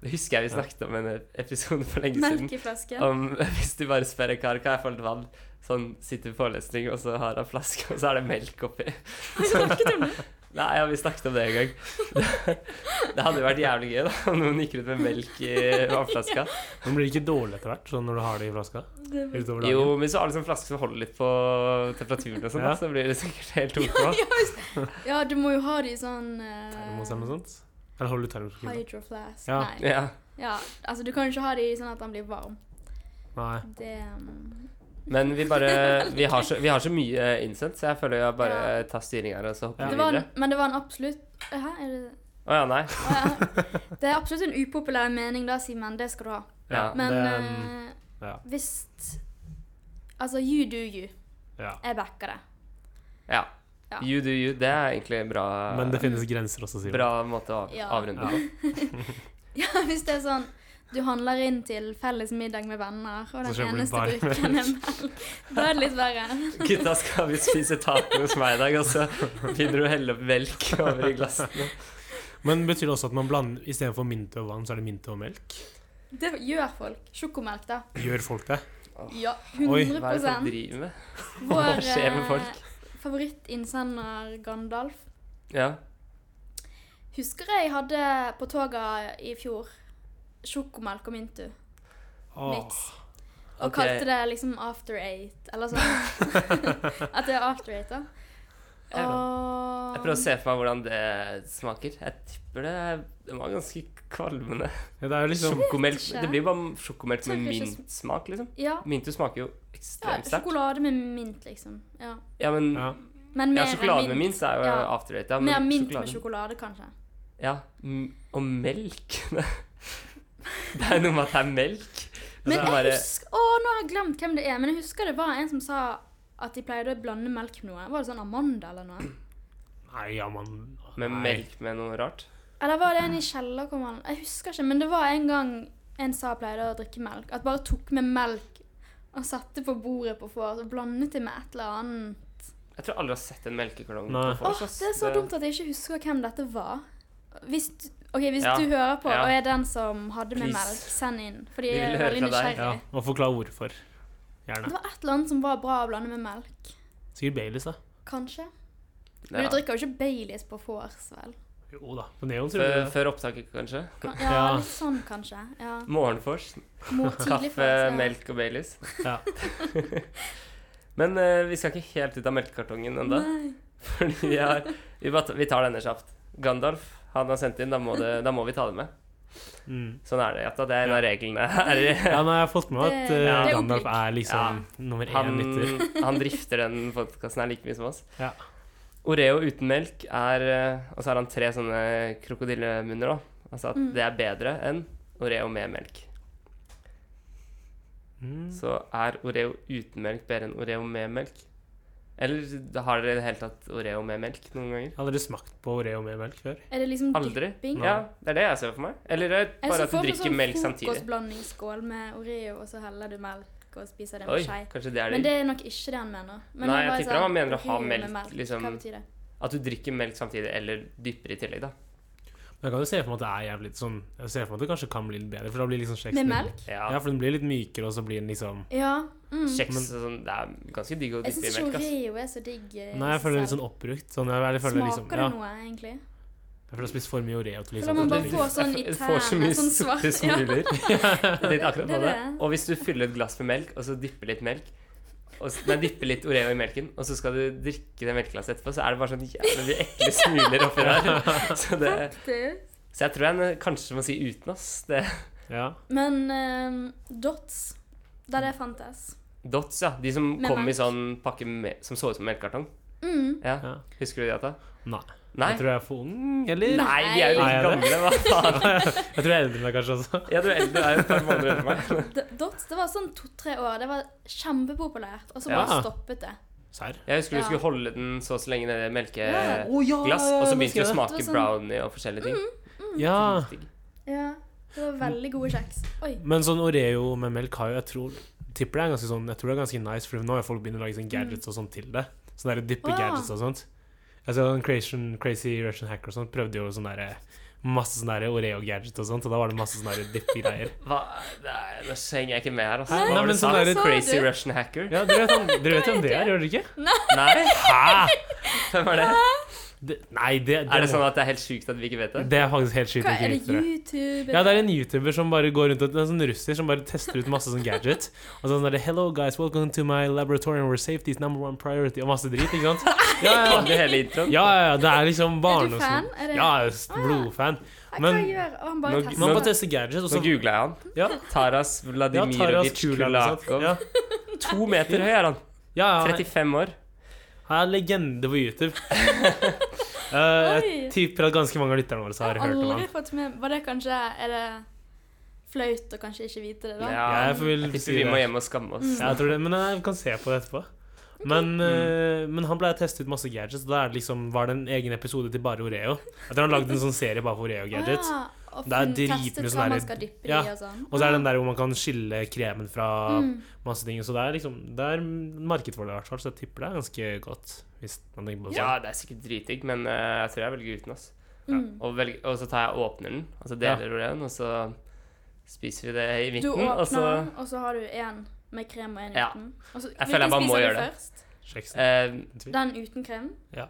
Speaker 1: Det husker jeg vi snakket om i en episode for lenge siden.
Speaker 3: Melk i flaske.
Speaker 1: Om, hvis du bare spør en kar hva er fullt vann, sånn sitter i forelesning, og så har han flaske, og så er det melk oppi.
Speaker 3: Har vi snakket om det?
Speaker 1: Nei, ja, vi snakket om det en gang. Det hadde jo vært jævlig gøy da, om noen gikk rundt med melk i vannflaska.
Speaker 2: Men blir det ikke dårlig etter hvert, sånn når du har det i flaska? Utover dagen?
Speaker 1: Jo, men hvis du har liksom flaske som holder litt på temperaturen, og sånn, da,
Speaker 2: Ja.
Speaker 1: så blir det sikkert helt OK.
Speaker 3: Ja, hvis- ja, du må jo ha de i sånn eh,
Speaker 2: Termos eller noe sånt? Eller holder du termos? Nei.
Speaker 3: Hydro flask.
Speaker 2: Ja.
Speaker 3: Nei.
Speaker 1: Ja.
Speaker 3: Ja, altså du kan jo ikke ha de sånn at den blir varm.
Speaker 2: Nei.
Speaker 3: Det mm,
Speaker 1: Men vi bare Vi har så, vi har så mye eh, innsendt, så jeg føler jeg bare
Speaker 3: Ja.
Speaker 1: tar styring her og så hopper
Speaker 2: Ja.
Speaker 1: vi
Speaker 3: det var en,
Speaker 1: videre.
Speaker 3: Men det var en absolutt eh, Hæ? Er det,
Speaker 1: Å ja, nei.
Speaker 3: Å, ja. det er absolutt en upopulær mening da, Simen. Det skal du ha.
Speaker 1: Ja,
Speaker 3: Men
Speaker 2: det,
Speaker 3: eh,
Speaker 2: ja.
Speaker 3: hvis Altså, you do you.
Speaker 2: ja.
Speaker 3: Jeg backer det.
Speaker 1: Ja.
Speaker 3: Ja.
Speaker 1: You do you. Det er egentlig en bra,
Speaker 2: Men det finnes grenser også, Simen.
Speaker 1: bra måte å av-
Speaker 3: Ja.
Speaker 1: avrunde på.
Speaker 3: Ja, hvis det er sånn du handler inn til felles middag med venner, og
Speaker 2: Så
Speaker 3: den
Speaker 2: kjøper du
Speaker 3: eneste
Speaker 2: bare
Speaker 3: drikken er melk, da er det litt verre.
Speaker 1: Gutta, skal vi spise taco hos meg i dag? Og så begynner du å helle opp melk over i glassene.
Speaker 2: Men betyr det også at man blander istedenfor mint og vann, så er det mint og melk?
Speaker 3: Det gjør folk. Sjokomelk, da.
Speaker 2: Gjør folk det?
Speaker 3: Ja,
Speaker 1: Hva
Speaker 2: Oi,
Speaker 1: er det folk
Speaker 3: 100
Speaker 1: driver med? Hva
Speaker 3: Vår
Speaker 1: skjer med
Speaker 3: eh,
Speaker 1: folk?
Speaker 3: favorittinnsender Gandalf.
Speaker 1: Ja.
Speaker 3: Husker jeg hadde på toget i fjor sjokomelk og Mintu.
Speaker 2: Åh.
Speaker 3: Mix. Og
Speaker 1: Ok.
Speaker 3: kalte det liksom After Eight, eller sånn. At det er After Eight, da.
Speaker 1: Jeg-
Speaker 3: Og
Speaker 1: Jeg prøver å se for meg hvordan det smaker. Jeg tipper det, er- det var ganske kvalmende.
Speaker 2: Ja, det er jo liksom
Speaker 1: Sjokomelk.
Speaker 3: ikke.
Speaker 1: Det blir bare sjokomelk med
Speaker 3: Tørker ikke sm-
Speaker 1: mintsmak, liksom.
Speaker 3: Ja.
Speaker 1: Mintu smaker jo
Speaker 3: ja
Speaker 1: ekstremt sterkt.
Speaker 3: sjokolade med mint, liksom. Ja.
Speaker 1: Ja, men
Speaker 2: ja.
Speaker 3: Men mer
Speaker 1: ja,
Speaker 3: enn
Speaker 1: sjokolade med
Speaker 3: mint.
Speaker 1: minst er jo
Speaker 3: Ja.
Speaker 1: after eight. Ja, men
Speaker 3: Mer mint med
Speaker 1: sjokolade-
Speaker 3: sjokolade, kanskje.
Speaker 1: Ja, m- og melk. det er noe med at det er melk.
Speaker 3: Men
Speaker 1: Altså,
Speaker 3: jeg
Speaker 1: bare-
Speaker 3: husker Å, nå har jeg glemt hvem det er, men jeg husker det var en som sa at de pleide å blande melk med noe. Var det sånn Amanda eller noe?
Speaker 2: Nei, ja, man
Speaker 1: Med
Speaker 2: nei.
Speaker 1: melk med noe rart.
Speaker 3: Eller var det en i kjellerkommanden? Jeg husker ikke, men det var en gang en sa pleide å drikke melk. At bare tok med melk og satte på bordet på vors og blandet det med et eller annet.
Speaker 1: Jeg tror aldri jeg har sett en melkekartong.
Speaker 2: Nei.
Speaker 1: på
Speaker 3: Åh,
Speaker 1: Fors, ass.
Speaker 3: det er så dumt at jeg ikke husker hvem dette var. Hvis du, ok, hvis
Speaker 1: Ja,
Speaker 3: du hører på
Speaker 1: ja.
Speaker 3: og er den som hadde med
Speaker 1: Please.
Speaker 3: melk, send inn.
Speaker 1: Vi
Speaker 3: Fordi jeg
Speaker 1: vil
Speaker 3: er
Speaker 1: høre
Speaker 3: veldig
Speaker 1: fra deg.
Speaker 3: nysgjerrig.
Speaker 2: Ja, og forklare hvorfor.
Speaker 3: Det
Speaker 2: Gjerne.
Speaker 3: var et eller annet som var bra å blande med melk.
Speaker 2: Sikkert Baileys, da.
Speaker 3: Kanskje. Men
Speaker 1: Ja.
Speaker 3: du drikker jo ikke Baileys på vors, vel?
Speaker 2: Jo da. På Neon, tror
Speaker 1: Før,
Speaker 2: jeg.
Speaker 1: før opptaket, kanskje.
Speaker 3: Kan, ja,
Speaker 2: Ja.
Speaker 3: litt sånn kanskje. Ja.
Speaker 1: Morgenfors.
Speaker 3: Mot tidlig
Speaker 1: Kaffe,
Speaker 3: vors, ja.
Speaker 1: melk og Baileys.
Speaker 2: Ja.
Speaker 1: Men eh, vi skal ikke helt ut av melkekartongen ennå.
Speaker 3: Nei.
Speaker 1: Fordi vi, har, vi, bare, ta- vi tar denne kjapt. Gandalf han har sendt inn, da må, det, da må vi ta det med.
Speaker 2: Mm.
Speaker 1: Sånn er det. Jatta. Det er en av reglene her.
Speaker 2: ja, nå har jeg fått med meg at
Speaker 3: Det-
Speaker 2: eh,
Speaker 1: det er
Speaker 2: Gandalf
Speaker 3: oblik.
Speaker 2: er liksom nummer én
Speaker 1: Han,
Speaker 2: lytter.
Speaker 1: han drifter den podkasten her like mye som oss.
Speaker 2: Ja.
Speaker 1: Oreo uten melk er eh, Og så har han tre sånne krokodillemunner, da. Altså at
Speaker 3: Mm.
Speaker 1: det er bedre enn Oreo med melk.
Speaker 2: Mm.
Speaker 1: Så er Oreo uten melk bedre enn Oreo med melk? Eller har dere i det hele tatt Oreo med melk noen ganger?
Speaker 2: Har dere smakt på Oreo med melk før?
Speaker 3: Er det liksom
Speaker 1: Aldri?
Speaker 3: dypping?
Speaker 1: Ja, det er det jeg ser for meg. Eller det er
Speaker 3: Jeg
Speaker 1: bare
Speaker 3: så
Speaker 1: at
Speaker 3: for
Speaker 1: du
Speaker 3: meg
Speaker 1: drikker
Speaker 3: sånn
Speaker 1: melk samtidig.
Speaker 3: frokostblandingsskål med Oreo, og så heller du melk og spiser det med
Speaker 1: Oi,
Speaker 3: skje.
Speaker 1: kanskje det er
Speaker 3: Men
Speaker 1: det.
Speaker 3: det er nok ikke det han mener. Men
Speaker 1: Nei,
Speaker 3: han
Speaker 1: jeg
Speaker 3: bare
Speaker 1: tipper
Speaker 3: sa,
Speaker 1: han mener å ha
Speaker 3: Oreo med
Speaker 1: melk, liksom.
Speaker 3: Hva betyr det?
Speaker 1: At du drikker melk samtidig, eller dypper i tillegg, da.
Speaker 2: Men jeg kan jo se for meg at det er jævlig litt sånn Jeg ser for meg at det kanskje kan bli litt bedre, for da blir liksom kjeksen
Speaker 3: Med
Speaker 2: litt-
Speaker 3: melk?
Speaker 1: Ja.
Speaker 2: Ja, for den blir litt mykere, og så blir den liksom
Speaker 3: Ja. Mm.
Speaker 1: Kjeks
Speaker 2: Men-
Speaker 1: og sånn. Det er ganske digg å
Speaker 3: Jeg
Speaker 1: dyppe
Speaker 3: syns
Speaker 1: i
Speaker 3: ikke
Speaker 1: melk, ass.
Speaker 3: Oreo er så digg. eh, i
Speaker 2: Nei, jeg
Speaker 3: seg
Speaker 2: føler det er litt
Speaker 3: selv.
Speaker 2: sånn oppbrukt. Sånn, jeg, jeg føler
Speaker 3: Smaker
Speaker 2: liksom ja,
Speaker 3: det noe, egentlig?
Speaker 2: Jeg føler jeg har spist for mye Oreo til
Speaker 3: Føler
Speaker 2: liksom
Speaker 3: man
Speaker 2: at
Speaker 3: bare
Speaker 2: det blir-
Speaker 3: får sånn i
Speaker 1: Jeg får så
Speaker 3: tærne,
Speaker 1: mye
Speaker 3: sånn svart.
Speaker 1: sorte smuler. Det er akkurat
Speaker 3: Det er
Speaker 1: det.
Speaker 3: det.
Speaker 1: Og hvis du fyller et glass med melk, og så dypper litt melk og, s- Nei, dypper litt Oreo i melken, og så skal du drikke det melkeglasset etterpå, så er det bare sånn jævlig mye ekle smuler oppi der. Så, det,
Speaker 3: Ja.
Speaker 1: så jeg tror jeg n- kanskje må si uten, ass. Det,
Speaker 2: Ja.
Speaker 3: Men eh, dots, der det fantes
Speaker 1: dots, ja. De som
Speaker 3: Med
Speaker 1: kom i
Speaker 3: melk.
Speaker 1: sånn pakke med, som så ut som melkekartong.
Speaker 3: mm.
Speaker 1: Ja.
Speaker 2: Ja.
Speaker 1: Husker du det, Jata?
Speaker 2: Nei.
Speaker 1: Nei?
Speaker 2: Jeg tror jeg er for ung, eller?
Speaker 3: Nei.
Speaker 1: Nei, vi er jo
Speaker 2: Nei,
Speaker 1: litt
Speaker 2: er det?
Speaker 1: gamle. Hva faen?
Speaker 2: Jeg tror jeg er eldre enn deg kanskje også.
Speaker 1: Ja, du er eldre. Du er jo et par måneder eldre enn meg.
Speaker 3: D- Dots det var sånn to-tre år. Det var kjempepopulært. Og så
Speaker 2: Ja.
Speaker 3: bare stoppet det.
Speaker 2: Serr?
Speaker 1: Jeg husker du
Speaker 3: Ja.
Speaker 1: skulle holde den så og så lenge nede i
Speaker 3: Ja.
Speaker 1: melkeglass,
Speaker 2: Å ja!
Speaker 1: og så begynte det å
Speaker 3: Det
Speaker 1: smake
Speaker 3: var sånn-
Speaker 1: brownie og forskjellige ting.
Speaker 2: Ja.
Speaker 1: Dritdigg.
Speaker 3: Ja, Det var veldig gode kjeks. Oi.
Speaker 2: Men sånn Oreo med melk har jo Jeg tror tipper det er ganske sånn Jeg tror det er ganske nice, for nå har folk begynt å lage sånn gadgets og sånn til det. Sånn derre dyppe
Speaker 3: Mm. Å, ja.
Speaker 2: gadgets og sånt. Jeg så en Creation, Crazy Russian Hacker og sånt prøvde jo sånn derre Masse sånn derre Oreo-gadget og sånt, og da var det masse sånn derre dyppegreier.
Speaker 1: Hva? Nei, nå henger jeg ikke med her, altså.
Speaker 2: Hæ?
Speaker 1: Hva
Speaker 2: Nei,
Speaker 1: var
Speaker 2: men
Speaker 1: det du sa?
Speaker 2: sånn der-
Speaker 1: Crazy
Speaker 3: Sa du?
Speaker 1: Russian Hacker?
Speaker 2: Ja, dere vet, om- dere vet om det er, gjør dere ikke?
Speaker 1: Nei?
Speaker 2: Hæ?
Speaker 1: Hvem er det?
Speaker 2: Det, nei, det,
Speaker 1: Er det sånn at det er helt sjukt at vi ikke vet det?
Speaker 2: Det er faktisk helt sjukt.
Speaker 3: Hva,
Speaker 2: å ikke
Speaker 3: er det
Speaker 2: vite det.
Speaker 3: YouTube?
Speaker 2: Ja, det er en YouTuber som bare går rundt og, det er en sånn russer som bare tester ut masse sånn gadget. Og sånn der, Hello guys, welcome to my laboratorium where safety is number one priority. Og masse drit, ikke sant? Ja, ja,
Speaker 1: Kan du hele introen?
Speaker 2: ja, ja, ja det er liksom
Speaker 3: Er
Speaker 2: barne
Speaker 3: du
Speaker 2: og
Speaker 3: fan?
Speaker 2: sånn.
Speaker 3: Er det...
Speaker 2: Ja, jeg er s-
Speaker 3: Ah.
Speaker 2: blodfan.
Speaker 3: Hva
Speaker 2: men-
Speaker 3: gjør Å, Han bare
Speaker 1: Nå-
Speaker 2: Man bare
Speaker 3: tester.
Speaker 2: tester gadgets, og
Speaker 1: Nå
Speaker 2: så
Speaker 1: googla jeg han.
Speaker 2: Sånn Ja,
Speaker 1: Taras
Speaker 2: ja Taras
Speaker 1: Vladimirovic
Speaker 2: Kula. ikke sant?
Speaker 1: Kulakov.
Speaker 2: Ja,
Speaker 1: To meter høy er han.
Speaker 2: ja, ja,
Speaker 1: 35 år.
Speaker 2: han er legende på YouTube. Eh, jeg tipper at ganske mange av lytterne våre har
Speaker 3: Jeg har
Speaker 2: hørt om han.
Speaker 3: aldri fått med Var det kanskje Er det flaut å kanskje ikke vite det, da?
Speaker 1: Ja,
Speaker 2: Jeg
Speaker 1: jeg
Speaker 2: vil si
Speaker 1: tipper vi
Speaker 2: det.
Speaker 1: må hjem og skamme oss.
Speaker 2: Ja, jeg tror det, men jeg kan se på det etterpå. Men,
Speaker 1: Mm.
Speaker 2: eh, men han ble testet ut masse gadgets, og da er det liksom, var det en egen episode til bare Oreo. Jeg tror han lagde en sånn serie bare for Oreo-gadgets.
Speaker 3: Ah, og
Speaker 2: Det er
Speaker 3: funnet-
Speaker 2: dritmye
Speaker 3: testet
Speaker 2: sånn
Speaker 3: hva
Speaker 2: der-
Speaker 3: man skal dyppe det
Speaker 2: ja.
Speaker 3: i og sånn.
Speaker 2: Og så er det den der ah, hvor man kan skille kremen fra
Speaker 3: Mm.
Speaker 2: masse ting. Så det er liksom, det er marked for det, i hvert fall. Så jeg tipper det er ganske godt. Hvis man tenker på det.
Speaker 1: Ja,
Speaker 2: sånn.
Speaker 1: det er sikkert dritdigg, men eh, jeg tror jeg velger uten. Altså. Og, velg, og så tar jeg og åpner den, og så deler vi den, og så spiser vi det i
Speaker 3: Du
Speaker 1: midten.
Speaker 3: åpner
Speaker 1: Og så
Speaker 3: den, og så har du en med krem og en
Speaker 1: Ja.
Speaker 3: uten. Og så,
Speaker 1: Jeg
Speaker 3: hvilken
Speaker 1: føler jeg bare må
Speaker 3: spiser du
Speaker 1: gjøre det.
Speaker 3: først?
Speaker 2: sånn Kjeks.
Speaker 1: eh,
Speaker 3: Den uten krem?
Speaker 2: Ja.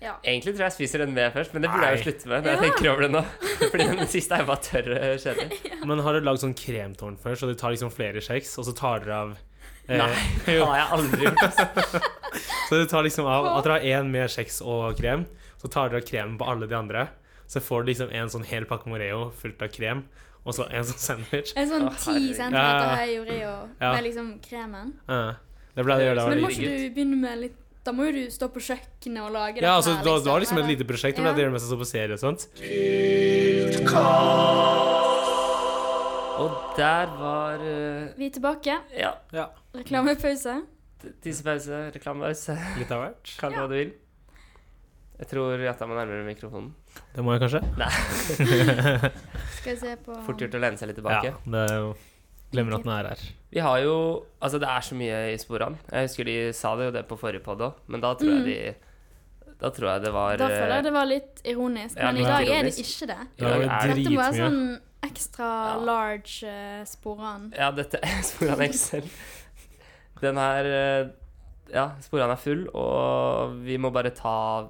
Speaker 3: Ja.
Speaker 1: Egentlig tror jeg jeg spiser den med først, men det burde jeg jo
Speaker 2: Nei.
Speaker 1: slutte med. når jeg
Speaker 3: Ja.
Speaker 1: tenker over det nå Fordi den siste er jo bare tørr eh, kjedelig.
Speaker 2: Men har du lagd sånn kremtårn før, så du tar liksom flere kjeks, og så tar dere av eh,
Speaker 1: Nei, det
Speaker 2: jo.
Speaker 1: har jeg aldri gjort. altså. ass.
Speaker 2: Så du tar liksom av at dere har én med kjeks og krem, så tar dere av kremen på alle de andre. Så får du liksom en sånn hel pakke med Oreo fullt av krem, og så en sånn sandwich.
Speaker 3: En sånn
Speaker 1: Å,
Speaker 3: ti
Speaker 1: herregud.
Speaker 2: Ja, ja.
Speaker 3: centimeter høy Oreo
Speaker 2: Ja.
Speaker 3: med liksom kremen.
Speaker 2: Ja. det ble det jeg gjorde da jeg
Speaker 3: Men må
Speaker 2: var
Speaker 1: litt
Speaker 3: ikke
Speaker 2: liten.
Speaker 1: gutt.
Speaker 3: du begynne med litt Da må jo du stå på kjøkkenet og lage
Speaker 2: Ja,
Speaker 3: dette
Speaker 2: altså,
Speaker 3: her,
Speaker 2: det var- det var liksom et
Speaker 3: Eller-
Speaker 2: lite prosjekt. Det ble
Speaker 3: Ja.
Speaker 2: det jeg gjorde mens jeg så på serie og sånt.
Speaker 1: Og der var eh,
Speaker 3: Vi er tilbake.
Speaker 1: Ja,
Speaker 2: Ja,
Speaker 3: Reklamepause.
Speaker 1: t- tissepause, reklamepause,
Speaker 2: litt av hvert.
Speaker 1: kall det hva du vil. Jeg tror at jeg må nærmere mikrofonen.
Speaker 2: Det må jeg kanskje.
Speaker 3: Skal vi se på
Speaker 1: Fort gjort å lene seg litt
Speaker 2: Ja,
Speaker 1: tilbake.
Speaker 2: det er jo- Glemmer at den er her.
Speaker 1: Vi har jo Altså, det er så mye i sporene. Jeg husker de sa det jo det på forrige podd òg, men da tror jeg de Da tror jeg det var
Speaker 3: Mm. Da føler
Speaker 1: eh,
Speaker 3: jeg det var litt ironisk,
Speaker 1: Ja,
Speaker 3: men i
Speaker 1: litt
Speaker 3: dag er det
Speaker 1: ironisk.
Speaker 3: ikke det.
Speaker 1: I dag
Speaker 2: Det var
Speaker 1: er det-
Speaker 3: Dette var
Speaker 2: dritmye.
Speaker 3: sånn ekstra
Speaker 1: Ja.
Speaker 3: large uh, sporan.
Speaker 1: Ja, dette er Sporan Excel. Den her eh, Ja, sporene er full, og vi må bare ta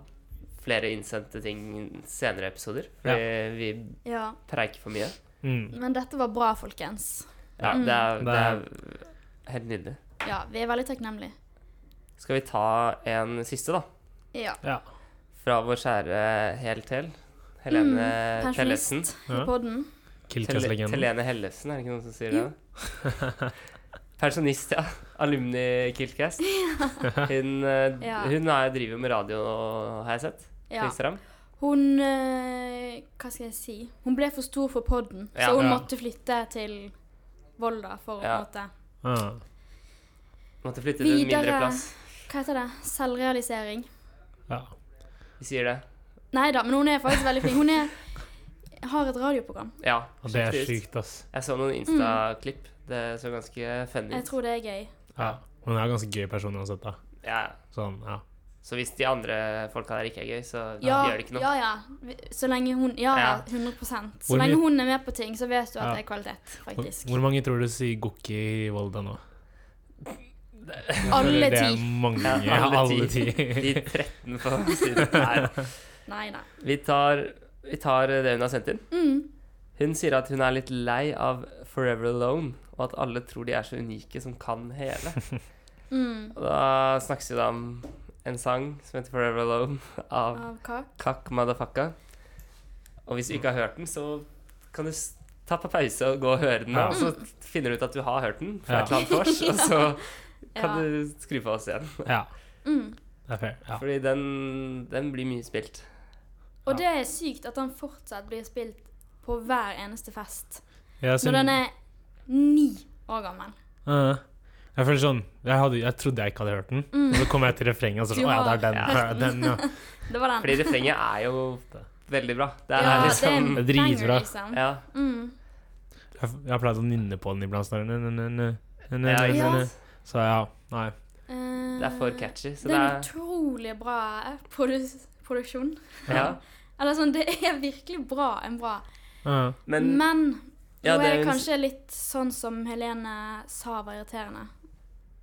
Speaker 1: flere innsendte ting senere i episoder. Fordi vi
Speaker 3: Ja.
Speaker 1: preiker for mye.
Speaker 2: Mm.
Speaker 3: Men dette var bra, folkens.
Speaker 1: Ja,
Speaker 3: Mm.
Speaker 1: det, er, det
Speaker 2: Det
Speaker 1: er helt nydelig.
Speaker 3: Ja, vi er veldig takknemlige.
Speaker 1: Skal vi ta en siste, da?
Speaker 3: Ja.
Speaker 2: Ja.
Speaker 1: Fra vår kjære Helt-Hel. Helene
Speaker 3: Mm.
Speaker 1: Tellesen.
Speaker 3: Pensjonist i
Speaker 2: Ja.
Speaker 3: podden.
Speaker 1: Tele-
Speaker 2: Killcast-legenden.
Speaker 1: Telene Hellesen, er det ikke noen som sier det? Pensjonist, ja. Alumni Kiltcast. Hun, eh,
Speaker 3: Ja.
Speaker 1: hun er, driver jo med radio, har jeg sett. På
Speaker 3: Ja.
Speaker 1: Instagram.
Speaker 3: Hun eh, Hva skal jeg si? Hun ble for stor for podden,
Speaker 1: Ja.
Speaker 3: så hun
Speaker 2: Ja.
Speaker 3: måtte flytte til Volda for
Speaker 1: Ja.
Speaker 3: å måtte
Speaker 2: Ah.
Speaker 1: Måtte flytte til en mindre
Speaker 3: Videre
Speaker 1: plass.
Speaker 3: Hva heter det? Selvrealisering.
Speaker 2: Ja.
Speaker 1: Vi sier det.
Speaker 3: Nei da, men hun er faktisk veldig flink. Hun er, har et radioprogram.
Speaker 1: Ja.
Speaker 2: Og det er
Speaker 1: sjekk ut.
Speaker 2: sykt, ass.
Speaker 1: Jeg så noen Insta-klipp. Det så ganske funny
Speaker 3: Mm. Jeg
Speaker 1: ut.
Speaker 3: tror det er gøy.
Speaker 2: Ja. Men det er ganske gøy person uansett, da.
Speaker 1: Ja.
Speaker 2: Sånn, ja.
Speaker 1: Så hvis de andre folka der ikke er gøy, så
Speaker 3: Ja,
Speaker 1: gjør det ikke noe.
Speaker 3: ja, ja. Vi- Så lenge hun Ja, ja,
Speaker 1: Ja.
Speaker 3: 100 Så
Speaker 2: Hvor
Speaker 3: lenge
Speaker 2: mye-
Speaker 3: hun er med på ting, så vet du at
Speaker 2: Ja.
Speaker 3: det er kvalitet,
Speaker 2: Hvor,
Speaker 3: faktisk.
Speaker 2: hvor mange tror du sier Gokki i Volda nå?
Speaker 3: Alle
Speaker 2: Det er
Speaker 3: ti.
Speaker 2: mange.
Speaker 1: Ja,
Speaker 2: Ja,
Speaker 1: alle
Speaker 2: alle
Speaker 1: ti. De
Speaker 2: ti.
Speaker 1: 13 på siden her.
Speaker 3: Nei, Mm, nei.
Speaker 1: Vi tar, vi tar det hun har sendt inn. Hun sier at hun er litt lei av Forever Alone, og at alle tror de er så unike som kan hele.
Speaker 3: Mm.
Speaker 1: Og da snakkes vi da om en sang som heter Forever Alone av
Speaker 3: Av hva?
Speaker 1: Kakk Madafakka. Og hvis du ikke har hørt den, så kan du s- ta på pause og gå og høre den,
Speaker 2: Ja.
Speaker 1: og så finner du ut at du har hørt den fra
Speaker 2: Ja.
Speaker 1: et eller annet vors, og så kan
Speaker 3: Ja.
Speaker 1: du skru på oss igjen.
Speaker 2: Ja,
Speaker 3: Mm.
Speaker 2: det er fair. Ja.
Speaker 1: Fordi den, den blir mye spilt.
Speaker 3: Og det er sykt at den fortsatt blir spilt på hver eneste fest.
Speaker 2: Jeg,
Speaker 3: Når
Speaker 2: syns-
Speaker 3: den er ni år gammel.
Speaker 2: Ja. jeg føler sånn jeg, hadde, jeg trodde jeg ikke hadde hørt den, og så kom jeg til refrenget, og så
Speaker 3: Du
Speaker 2: sånn Å ja, det er den.
Speaker 1: har
Speaker 2: Ja. den ja.
Speaker 3: Det var den.
Speaker 1: Fordi refrenget er jo veldig bra. Det er
Speaker 3: Ja, det er
Speaker 1: liksom
Speaker 3: en
Speaker 2: Det er
Speaker 3: banger,
Speaker 2: dritbra.
Speaker 3: liksom.
Speaker 1: Ja.
Speaker 3: Mm.
Speaker 2: Jeg jeg har pleid å nynne på den iblant. Sånn, nø, nø, nø, nø, nø, nø,
Speaker 1: Ja, ikke
Speaker 2: nø,
Speaker 3: Ja. Eh,
Speaker 2: nø. Så ja, nei.
Speaker 1: Det er for catchy. Så
Speaker 3: det
Speaker 1: det
Speaker 3: er en
Speaker 1: er
Speaker 3: utrolig bra produ produksjon.
Speaker 1: ja.
Speaker 3: Eller sånn, det er virkelig bra, en bra.
Speaker 2: Ja.
Speaker 1: Men
Speaker 3: Men
Speaker 1: ja,
Speaker 3: nå
Speaker 1: det
Speaker 3: er det
Speaker 1: hun-
Speaker 3: kanskje litt sånn som Helene sa var irriterende.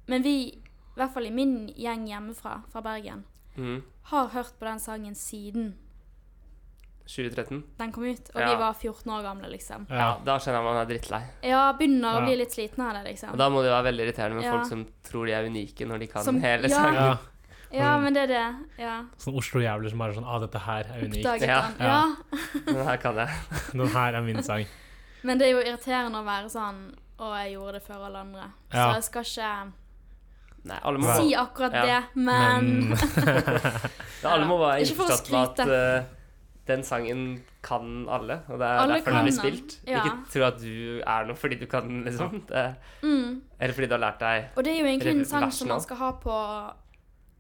Speaker 3: Men vi, i hvert fall i min gjeng hjemmefra, fra Bergen,
Speaker 1: Mm.
Speaker 3: har hørt på den sangen siden
Speaker 1: 2013.
Speaker 3: den kom ut. Og
Speaker 1: Ja.
Speaker 3: vi var 14 år gamle, liksom.
Speaker 1: Ja,
Speaker 2: Ja.
Speaker 1: da kjenner jeg man er drittlei.
Speaker 3: Ja, begynner
Speaker 2: Ja.
Speaker 3: å bli litt sliten av det,
Speaker 1: Og
Speaker 3: liksom.
Speaker 1: da må det jo være veldig irriterende med
Speaker 3: Ja.
Speaker 1: folk som tror de er unike når de kan
Speaker 3: Som-
Speaker 1: hele
Speaker 3: ja.
Speaker 1: sangen.
Speaker 2: ja.
Speaker 3: Ja,
Speaker 2: Mm.
Speaker 3: men det er det. Ja.
Speaker 2: Sånn Oslo-jævler som bare sånn Ah, dette her er unikt.
Speaker 3: Oppdaget
Speaker 1: Ja.
Speaker 3: den.
Speaker 2: Ja.
Speaker 3: Ja.
Speaker 1: Den her kan jeg.
Speaker 2: Den her er min sang.
Speaker 3: Men det er jo irriterende å være sånn Og jeg gjorde det før alle andre. Så
Speaker 2: Ja.
Speaker 3: jeg skal ikke
Speaker 1: Nei, alle må,
Speaker 3: si akkurat
Speaker 1: Ja.
Speaker 3: det, men,
Speaker 1: ja, alle må være
Speaker 3: Ikke for å
Speaker 1: innforstått med at
Speaker 3: skryte.
Speaker 1: eh, den sangen kan alle, og det er
Speaker 3: Alle
Speaker 1: derfor den
Speaker 3: kan
Speaker 1: blir
Speaker 3: den,
Speaker 1: spilt.
Speaker 3: ja.
Speaker 1: Ikke tro at du er noe fordi du kan den, liksom. Det,
Speaker 3: mm.
Speaker 1: eller fordi du har lært deg
Speaker 3: Og det er jo egentlig en
Speaker 1: Eller
Speaker 3: sang
Speaker 1: versen
Speaker 3: som man
Speaker 1: også.
Speaker 3: skal ha på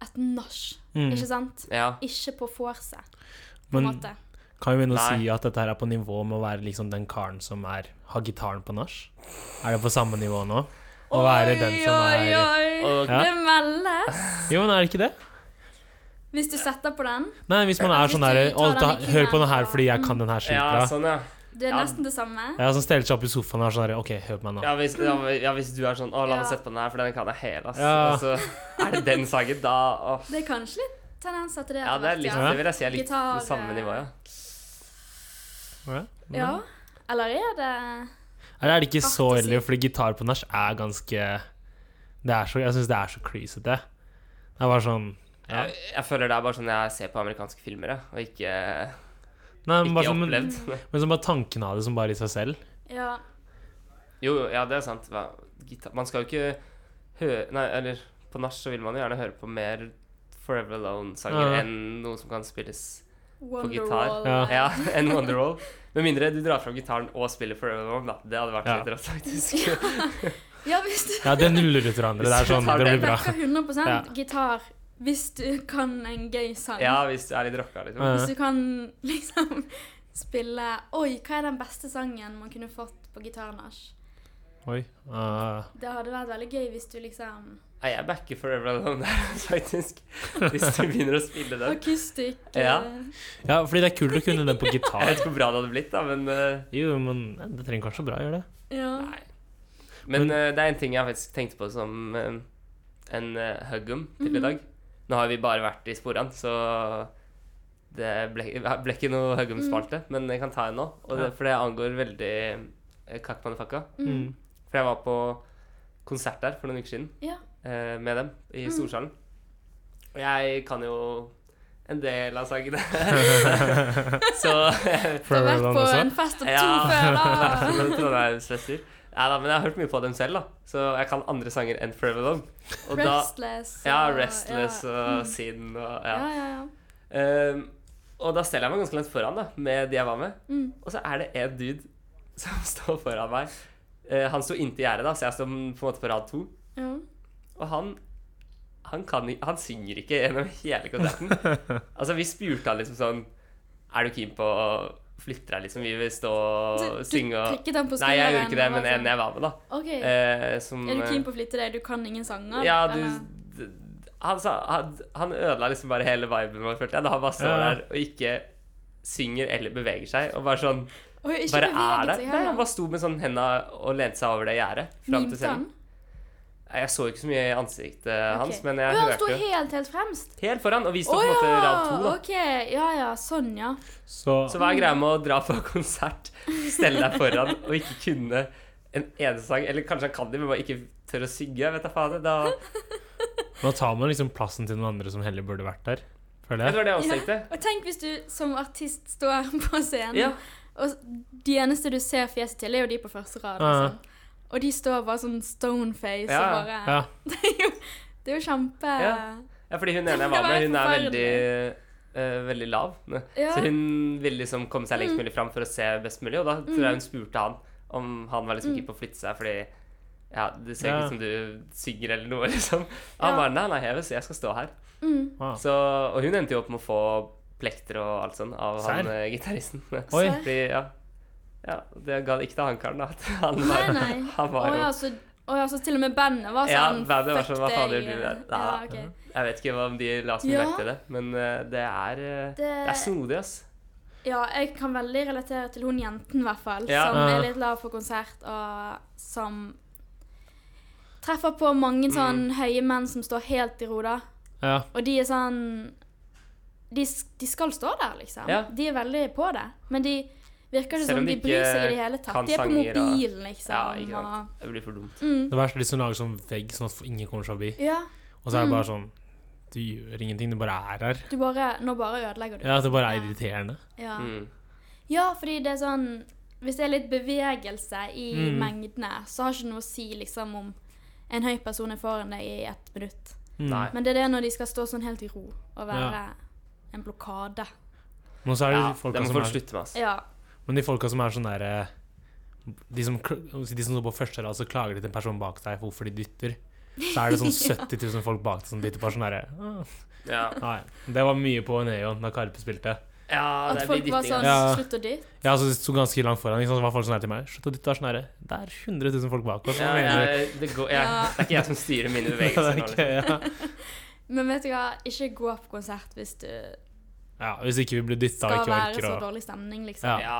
Speaker 3: et nach,
Speaker 2: Mm.
Speaker 3: ikke sant?
Speaker 1: Ja.
Speaker 3: Ikke på vorset, på en
Speaker 2: Men
Speaker 3: måte.
Speaker 2: kan vi begynne å
Speaker 1: Nei.
Speaker 2: si at dette her er på nivå med å være liksom den karen som er, har gitaren på nach? Er det på samme nivå nå? Å være den som
Speaker 3: Oi,
Speaker 2: er
Speaker 3: oi, oi.
Speaker 1: Og
Speaker 2: Ja.
Speaker 3: Det meldes.
Speaker 2: Jo, men er det ikke det?
Speaker 3: Hvis du setter på den.
Speaker 2: Nei, hvis man er
Speaker 3: Hvis
Speaker 2: sånn
Speaker 3: du
Speaker 2: der
Speaker 3: tar
Speaker 2: «Å,
Speaker 3: den
Speaker 2: ta,
Speaker 3: i
Speaker 2: Hør på den her
Speaker 3: kniven,
Speaker 2: fordi jeg kan den her
Speaker 1: ja,
Speaker 2: skilt bra.
Speaker 1: sånn, ja.
Speaker 3: Det er
Speaker 1: Ja.
Speaker 3: nesten det samme.
Speaker 2: Ja, som steller seg opp i sofaen og er sånn der OK, hør på meg nå.
Speaker 1: Ja hvis, ja, men- ja, hvis du er sånn 'Å, la
Speaker 3: Ja.
Speaker 1: meg sette på den her, for den kan jeg hele', ass.
Speaker 2: Ja.
Speaker 1: Og så er det den sangen, da åh.
Speaker 3: Det er kanskje litt tendenser til det.
Speaker 1: Ja,
Speaker 3: etter
Speaker 1: det, er
Speaker 3: hvert,
Speaker 1: litt,
Speaker 3: ja.
Speaker 2: sånn.
Speaker 1: det vil jeg si er litt
Speaker 3: Gitar,
Speaker 1: samme
Speaker 3: eh,
Speaker 1: nivå, ja.
Speaker 2: Ja.
Speaker 3: ja. Eller er det
Speaker 2: Eller er det ikke så
Speaker 3: Hardt å si.
Speaker 2: ille, fordi gitar på nach er ganske det er så, Jeg syns det er så crazy-ete. Det er bare sånn ja.
Speaker 1: Jeg, jeg føler det er bare sånn jeg ser på amerikanske filmer, jeg, og ikke,
Speaker 2: Nei, men, bare
Speaker 1: ikke
Speaker 2: sånn, men,
Speaker 1: opplevd.
Speaker 2: men som bare tanken av det som bare i seg selv.
Speaker 3: Ja.
Speaker 1: Jo, jo, ja, det er sant. Hva, gitar. Man skal jo ikke høre Nei, eller på nach så vil man jo gjerne høre på mer Forever Alone-sanger
Speaker 2: Ja.
Speaker 1: enn noe som kan spilles
Speaker 3: Wonderwall.
Speaker 2: Ja.
Speaker 1: Ja, enn Wonderwall. Med mindre du drar fram gitaren og spiller Forever Alone, da. Det hadde vært
Speaker 2: Ja.
Speaker 1: litt rått, faktisk.
Speaker 3: ja, hvis du
Speaker 2: Ja, det nuller ut hverandre. Det er sånn, det blir bra.
Speaker 3: backer 100
Speaker 2: Ja.
Speaker 3: gitar hvis du kan en gøy sang.
Speaker 1: Ja, hvis du er litt rocka, liksom.
Speaker 2: Ja.
Speaker 3: Hvis du kan liksom spille Oi, hva er den beste sangen man kunne fått på gitarnach?
Speaker 2: Oi. ah.
Speaker 3: Det hadde vært veldig gøy hvis du liksom
Speaker 1: Nei, jeg backer Forever Alone der, faktisk. Hvis du begynner å spille den.
Speaker 3: Akustikk
Speaker 1: Ja.
Speaker 3: eh,
Speaker 2: ja, fordi det er kult å kunne den på
Speaker 1: Jeg
Speaker 2: gitar.
Speaker 1: vet ikke hvor bra det hadde blitt, da, men eh,
Speaker 2: Jo, men det trenger kanskje bra å gjøre det.
Speaker 3: ja.
Speaker 1: Nei. Men eh, det er en ting jeg faktisk tenkte på som eh, en uh, huggum til i dag. Nå har vi bare vært i sporene, så det ble, ble ikke noe huggum-spalte. Men jeg kan ta en nå, og det,
Speaker 2: Ja.
Speaker 1: for det angår veldig uh, Kakmanifakka.
Speaker 3: Mm.
Speaker 1: For jeg var på konsert der for noen uker siden
Speaker 3: Ja.
Speaker 1: eh, med dem i Storsalen. Og jeg kan jo en del av sangene. så
Speaker 3: Du har vært på
Speaker 2: også.
Speaker 3: en fest og to
Speaker 1: Ja.
Speaker 3: før, da.
Speaker 1: Sånn Trondheimsfester. Nei da, men jeg har hørt mye på dem selv, da. Så jeg kan andre sanger enn Forever Love. Og da,
Speaker 3: Restless.
Speaker 1: ja,
Speaker 3: og-
Speaker 1: Restless
Speaker 3: ja. Mm.
Speaker 1: og Sin og ja.
Speaker 3: Ja, ja, ja.
Speaker 1: Ehm, og da steller jeg meg ganske langt foran da, med de jeg var med.
Speaker 3: Mm.
Speaker 1: Og så er det en dude som står foran meg. Eh, han sto inntil gjerdet, da, så jeg står på en måte på rad to.
Speaker 3: ja.
Speaker 1: Og han han, kan, i- han synger ikke gjennom hele konserten. Altså, vi spurte han liksom sånn Er du keen på å flytte deg, liksom? Vi vil stå
Speaker 3: Du,
Speaker 1: og
Speaker 3: du
Speaker 1: synge og
Speaker 3: prikket den på skulderen.
Speaker 1: Nei, jeg gjorde ikke det,
Speaker 3: og var
Speaker 1: men en
Speaker 3: sånn,
Speaker 1: jeg var med, da.
Speaker 3: OK,
Speaker 1: Eh, som,
Speaker 3: er du keen på å flytte deg? Du kan ingen
Speaker 1: eh,
Speaker 3: sanger?
Speaker 1: Ja, du
Speaker 3: eller?
Speaker 1: d- d- han, sa, han, han ødela liksom bare hele viben vår, følte jeg. Da han bare står
Speaker 2: Ja.
Speaker 1: der og ikke synger eller beveger seg. Og bare sånn
Speaker 3: Oi, ikke
Speaker 1: Bare er
Speaker 3: beveget
Speaker 1: der.
Speaker 3: seg
Speaker 1: Nei,
Speaker 3: heller.
Speaker 1: han bare sto med sånn henda og lente seg over det gjerdet fram til
Speaker 3: Mimte
Speaker 1: scenen.
Speaker 3: han?
Speaker 1: Nei, Jeg så ikke så mye i ansiktet
Speaker 3: Ok.
Speaker 1: hans, men jeg
Speaker 3: Å, Han sto
Speaker 1: hørte jo
Speaker 3: helt, helt fremst?
Speaker 1: helt foran. Og vi
Speaker 3: Å
Speaker 1: sto på en måte rad to,
Speaker 3: ja!
Speaker 1: da.
Speaker 3: OK. Ja ja, sånn, ja.
Speaker 2: Så,
Speaker 1: Så hva er greia med å dra på konsert, stelle deg foran og ikke kunne en eneste sang? Eller kanskje han kan det, men bare ikke tør å synge? Jeg vet da faen. Da
Speaker 2: nå tar man liksom plassen til noen andre som heller burde vært der.
Speaker 1: Jeg
Speaker 2: Føler jeg.
Speaker 1: tror det er
Speaker 3: Ja.
Speaker 1: ansiktet.
Speaker 3: Og tenk hvis du som artist står på scenen,
Speaker 1: Ja.
Speaker 3: og de eneste du ser fjeset til, er jo de på første rad.
Speaker 2: Ja.
Speaker 3: Liksom. Og de står bare sånn stoneface
Speaker 1: Ja.
Speaker 3: og bare
Speaker 2: Ja.
Speaker 3: det, er jo, det er jo kjempe
Speaker 1: Ja. Ja, fordi hun ene jeg
Speaker 3: Det
Speaker 1: var
Speaker 3: var
Speaker 1: med, hun er
Speaker 3: forferdelig.
Speaker 1: veldig, eh, veldig lav. ne.
Speaker 3: Ja. Mm.
Speaker 1: Så hun ville liksom komme seg lengst mulig fram for å se best mulig, og da tror jeg hun spurte han om han var liksom
Speaker 3: Mm.
Speaker 1: keen på å flytte seg, fordi ja, det ser
Speaker 2: Ja.
Speaker 1: ikke ut som du synger eller noe, liksom. Og han
Speaker 3: Ja. Mm.
Speaker 1: bare nei, nei, jeg, vil, jeg skal stå her.
Speaker 2: Wow.
Speaker 1: Så, og hun endte jo opp med å få plekter og alt sånn av
Speaker 2: Serr?
Speaker 1: han eh, gitaristen.
Speaker 2: Oi.
Speaker 1: Fordi, ja. Ja, det ga det ikke til han karen, da. at Han var,
Speaker 3: Nei, nei.
Speaker 1: Han
Speaker 3: Å
Speaker 1: var jo
Speaker 3: ja, så, å ja, så til og med bandet var
Speaker 1: Ja,
Speaker 3: sånn
Speaker 1: bandet var
Speaker 3: fuck
Speaker 1: sånn, hva faen
Speaker 3: deg.
Speaker 1: gjør du der?
Speaker 3: Ja,
Speaker 1: Nei.
Speaker 3: ok.
Speaker 1: Jeg vet ikke hva- om de la så mye
Speaker 3: Ja.
Speaker 1: merke til det, men eh, det er, eh, det... er snodig, ass.
Speaker 3: Ja, jeg kan veldig relatere til hun jenten, i hvert fall.
Speaker 1: Ja.
Speaker 3: Som
Speaker 2: Ja.
Speaker 3: er litt lav for konsert, og som
Speaker 1: Mm.
Speaker 3: treffer på mange sånn høye menn som står helt i ro, da.
Speaker 2: Ja.
Speaker 3: Og de er sånn de, s- de skal stå der, liksom.
Speaker 1: Ja.
Speaker 3: De er veldig på det. Men de virker ikke
Speaker 1: Selv
Speaker 3: som
Speaker 1: om
Speaker 3: de
Speaker 1: de
Speaker 3: bryr
Speaker 1: ikke
Speaker 3: seg i det hele tatt.
Speaker 1: kan
Speaker 3: De er på
Speaker 1: sanger og-
Speaker 3: mobilen, liksom.
Speaker 1: Ja, ikke sant.
Speaker 3: og,
Speaker 1: Det blir for dumt.
Speaker 3: mm,
Speaker 2: Det verste er de som lager sånn vegg, sånn at ingen kommer seg forbi.
Speaker 3: ja,
Speaker 2: Og så er det
Speaker 3: Mm.
Speaker 2: bare sånn Du gjør ingenting, du bare er her.
Speaker 3: du bare, nå bare ødelegger du.
Speaker 2: Ja, det bare er
Speaker 3: Ja.
Speaker 2: irriterende.
Speaker 3: Ja.
Speaker 1: Mm.
Speaker 3: ja, fordi det er sånn Hvis det er litt bevegelse i
Speaker 2: Mm.
Speaker 3: mengdene, så har ikke noe å si liksom om en høy person er foran deg i ett minutt.
Speaker 2: Mm.
Speaker 1: Nei.
Speaker 3: Men det er det når de skal stå sånn helt i ro og være
Speaker 2: Ja.
Speaker 3: en blokade.
Speaker 2: Men så er det
Speaker 1: Ja,
Speaker 2: de
Speaker 1: det
Speaker 2: folka
Speaker 1: må
Speaker 2: som
Speaker 1: folk
Speaker 2: er
Speaker 1: slutte med, altså.
Speaker 3: Ja.
Speaker 2: Men de folka som er sånn derre de som, kl- de som står på første rad, så klager de til en person bak deg for hvorfor de dytter. Så er det sånn 70 000 folk bak deg som dytter på sånn derre «Åh,
Speaker 1: Ja,
Speaker 2: Nei. Det var mye på Neon da Karpe spilte.
Speaker 1: ja
Speaker 3: At
Speaker 1: det blir
Speaker 3: folk var
Speaker 1: dytting.
Speaker 3: sånn
Speaker 1: altså.
Speaker 2: Ja.
Speaker 3: Slutt å dytte.
Speaker 2: Ja, så sto ganske langt foran, ikke sant? så var folk sånn her til meg. Slutt å dytte, det er sånn herre. Det er 100 000 folk bak oss.
Speaker 1: Ja,
Speaker 2: Hva mener du?
Speaker 1: jeg, det, går, jeg,
Speaker 3: Ja.
Speaker 1: det er ikke jeg som styrer mine
Speaker 2: Det
Speaker 1: bevegelser.
Speaker 2: er
Speaker 1: nå,
Speaker 2: ikke-
Speaker 1: liksom.
Speaker 2: ja.
Speaker 3: Men vet du hva, ikke gå på konsert hvis du
Speaker 2: ja, hvis ikke vi blir dytta og
Speaker 3: skal
Speaker 2: ikke
Speaker 3: være
Speaker 2: orker
Speaker 3: så
Speaker 2: å
Speaker 3: dårlig stemning,
Speaker 2: Ja.
Speaker 3: liksom.
Speaker 1: Ja.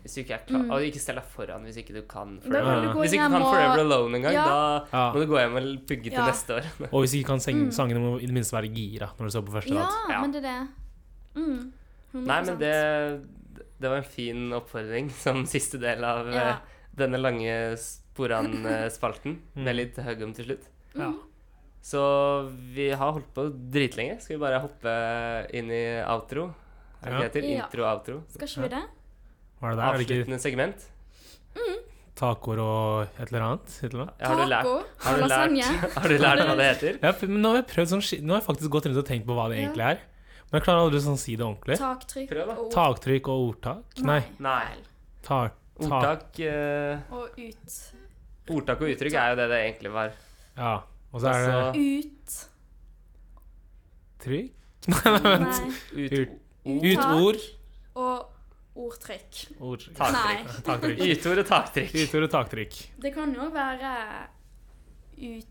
Speaker 1: Hvis du ikke er klar Og ikke stell deg foran hvis ikke du kan
Speaker 3: Mm. Da
Speaker 1: Forever,
Speaker 3: kan du
Speaker 2: Ja.
Speaker 3: gå
Speaker 1: hvis ikke du
Speaker 3: hjem
Speaker 1: kan Forever
Speaker 3: og
Speaker 1: Alone engang,
Speaker 3: Ja.
Speaker 1: da
Speaker 2: ja.
Speaker 1: må du gå hjem og pugge til
Speaker 3: Ja.
Speaker 1: neste år.
Speaker 2: Og hvis ikke kan seng, sangene må i det minste være gira når du står på første
Speaker 3: Mm. Ja,
Speaker 2: rad.
Speaker 1: Ja.
Speaker 3: men det er det. Mm. 100%.
Speaker 1: Nei, men det, det var en fin oppfordring som siste del av eh,
Speaker 3: Ja.
Speaker 1: denne lange Sporan-spalten.
Speaker 2: Mm.
Speaker 1: Med litt høgum til slutt.
Speaker 2: Ja.
Speaker 1: Så vi har holdt på dritlenge. Skal vi bare hoppe inn i outro? Er det
Speaker 2: Ja.
Speaker 1: det heter?
Speaker 3: Ja.
Speaker 1: Intro-outro.
Speaker 3: Skal ikke vi det?
Speaker 2: Var det der? Er det ikke
Speaker 1: Avsluttende segment.
Speaker 2: tacoer og et eller annet? Et eller annet?
Speaker 1: Har du lært,
Speaker 3: Taco?
Speaker 1: har du lært,
Speaker 3: Lasagne?
Speaker 1: har du lært hva det heter?
Speaker 2: Ja, for- men nå har jeg prøvd sånn ski- Nå har jeg faktisk gått rundt og tenkt på hva det
Speaker 3: Ja.
Speaker 2: egentlig er. Men jeg klarer aldri sånn å si det ordentlig.
Speaker 3: Taktrykk
Speaker 1: Prøv, da.
Speaker 3: og
Speaker 2: Taktrykk og ordtak Nei.
Speaker 1: Nei.
Speaker 3: feil.
Speaker 2: Tak, tak,
Speaker 1: Ordtak, eh,
Speaker 3: Og ut.
Speaker 1: ordtak og uttrykk er jo det det egentlig var.
Speaker 2: ja. Og så er
Speaker 1: Altså-
Speaker 2: det
Speaker 3: Ut.
Speaker 2: trykk
Speaker 3: Nei.
Speaker 1: Ut,
Speaker 2: Ut-
Speaker 1: ut,
Speaker 2: Ut
Speaker 3: Tak.
Speaker 2: ord.
Speaker 3: Og ordtrykk.
Speaker 2: Ordtrykk.
Speaker 3: Nei.
Speaker 1: taktrykk.
Speaker 2: Taktrykk.
Speaker 1: Ytord og taktrykk.
Speaker 2: Ytord og taktrykk.
Speaker 3: Det kan jo være ut...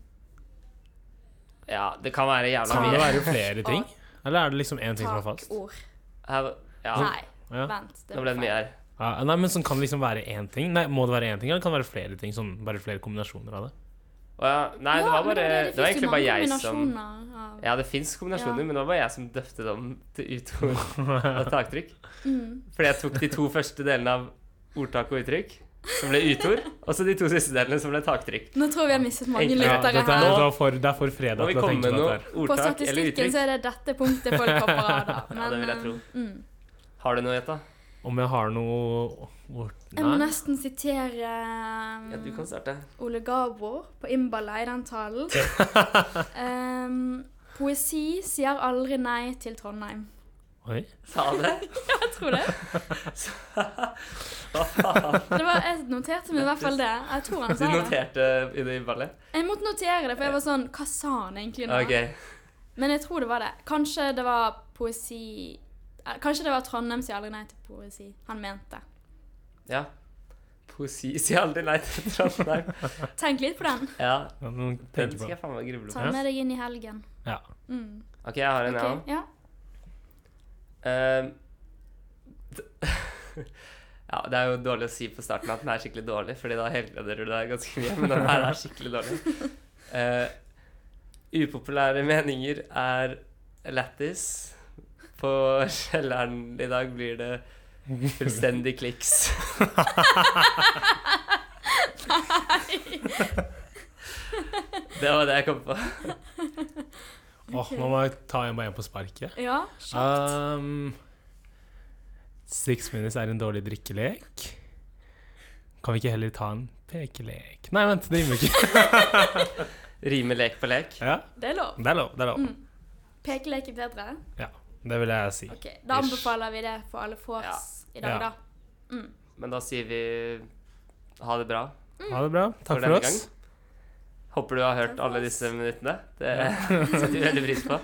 Speaker 1: Ja, det kan være jævla
Speaker 2: Kan det
Speaker 1: mye.
Speaker 2: være flere ting? Eller er det liksom én ting som er fast?
Speaker 3: Takord.
Speaker 1: Her, ja,
Speaker 2: Sånn
Speaker 3: Nei,
Speaker 2: Ja.
Speaker 3: vent.
Speaker 1: nå ble det mye her.
Speaker 2: Ja, nei, men sånn kan det liksom være én ting. Nei, Må det være én ting, eller kan det være flere ting? Sånn, bare flere kombinasjoner av det.
Speaker 1: Å ja, nei, det var bare Det var egentlig bare jeg som
Speaker 3: av,
Speaker 1: Ja, det fins kombinasjoner,
Speaker 3: Ja.
Speaker 1: men det var bare jeg som døpte dem til utord og taktrykk.
Speaker 3: mm.
Speaker 1: Fordi jeg tok de to første delene av ordtak og uttrykk, som ble utord, og så de to siste delene, som ble taktrykk.
Speaker 3: Nå tror jeg vi har mistet mange
Speaker 1: Enkelt.
Speaker 2: Ja,
Speaker 1: Lyttere
Speaker 3: lyttere
Speaker 2: dette er,
Speaker 3: her.
Speaker 2: dette er for, det er
Speaker 1: Da
Speaker 2: for fredag
Speaker 1: vi
Speaker 2: til å
Speaker 1: kommer
Speaker 2: tenke på
Speaker 1: med noe
Speaker 2: dette her.
Speaker 3: På
Speaker 1: ordtak eller
Speaker 3: statistikken
Speaker 1: uttrykk.
Speaker 3: så er det dette punktet folk hopper av, da.
Speaker 1: Ja, det vil jeg
Speaker 3: eh,
Speaker 1: tro.
Speaker 3: Mm.
Speaker 1: Har du noe, Jetta?
Speaker 2: Om jeg har noe ord...
Speaker 3: Jeg må
Speaker 2: Nei.
Speaker 3: nesten sitere eh,
Speaker 1: Ja, du kan starte.
Speaker 3: Ole Gabor på Imbala i den talen. Em, poesi sier aldri nei til Trondheim.
Speaker 2: Oi.
Speaker 1: Sa han det?
Speaker 3: Jeg tror det.
Speaker 1: Hva faen?
Speaker 3: det var, jeg noterte meg i hvert fall det. Jeg tror han
Speaker 1: Du
Speaker 3: sa det.
Speaker 1: noterte i det ballet?
Speaker 3: Jeg måtte notere det, for jeg var sånn Hva sa han egentlig nå?
Speaker 1: OK.
Speaker 3: Men jeg tror det var det. Kanskje det var poesi eh, Kanskje det var Trondheim sier aldri nei til poesi. Han mente.
Speaker 1: Ja. Poesi sier aldri nei til Trondheim.
Speaker 3: Tenk litt på den.
Speaker 1: Ja,
Speaker 2: Ja, men
Speaker 1: den
Speaker 2: tenker på
Speaker 1: skal
Speaker 2: det.
Speaker 1: jeg faen meg gruble på.
Speaker 3: Ta den med deg inn i helgen.
Speaker 2: Ja.
Speaker 3: Mm.
Speaker 1: OK, jeg har en, jeg
Speaker 3: ok,
Speaker 1: òg.
Speaker 3: Ja.
Speaker 1: ja, det er jo dårlig å si på starten at den er skikkelig dårlig, Fordi da helbreder du deg ganske mye. Men den her er skikkelig dårlig. Eh, upopulære meninger er lættis. På kjelleren i dag blir det fullstendig kliks. Det var det jeg kom på.
Speaker 2: Åh, nå må jeg ta en bare en på sparket.
Speaker 3: ja. Kjapt.
Speaker 2: Um, six minutes er en dårlig drikkelek. Kan vi ikke heller ta en pekelek? Nei, vent, det rimer ikke.
Speaker 1: Rime lek på lek.
Speaker 2: Ja,
Speaker 3: Det er lov.
Speaker 2: det er lov. Det er lov.
Speaker 3: Mm. Pekelek er bedre.
Speaker 2: Det vil jeg si.
Speaker 3: Ok, Da
Speaker 2: Ish.
Speaker 3: anbefaler vi det for alle folks i dag,
Speaker 2: Ja.
Speaker 3: da. Mm.
Speaker 1: Men da sier vi ha det bra.
Speaker 2: Ha det bra.
Speaker 1: For
Speaker 2: Takk for
Speaker 1: denne
Speaker 2: oss.
Speaker 1: Håper du har hørt
Speaker 3: Takk for
Speaker 1: alle
Speaker 3: oss.
Speaker 1: disse minuttene. Det setter vi veldig pris på.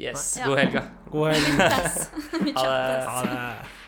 Speaker 1: Yes.
Speaker 3: Ja.
Speaker 1: God helga.
Speaker 2: God helg.
Speaker 3: Kjempes.
Speaker 1: Ha det.
Speaker 2: Ha det.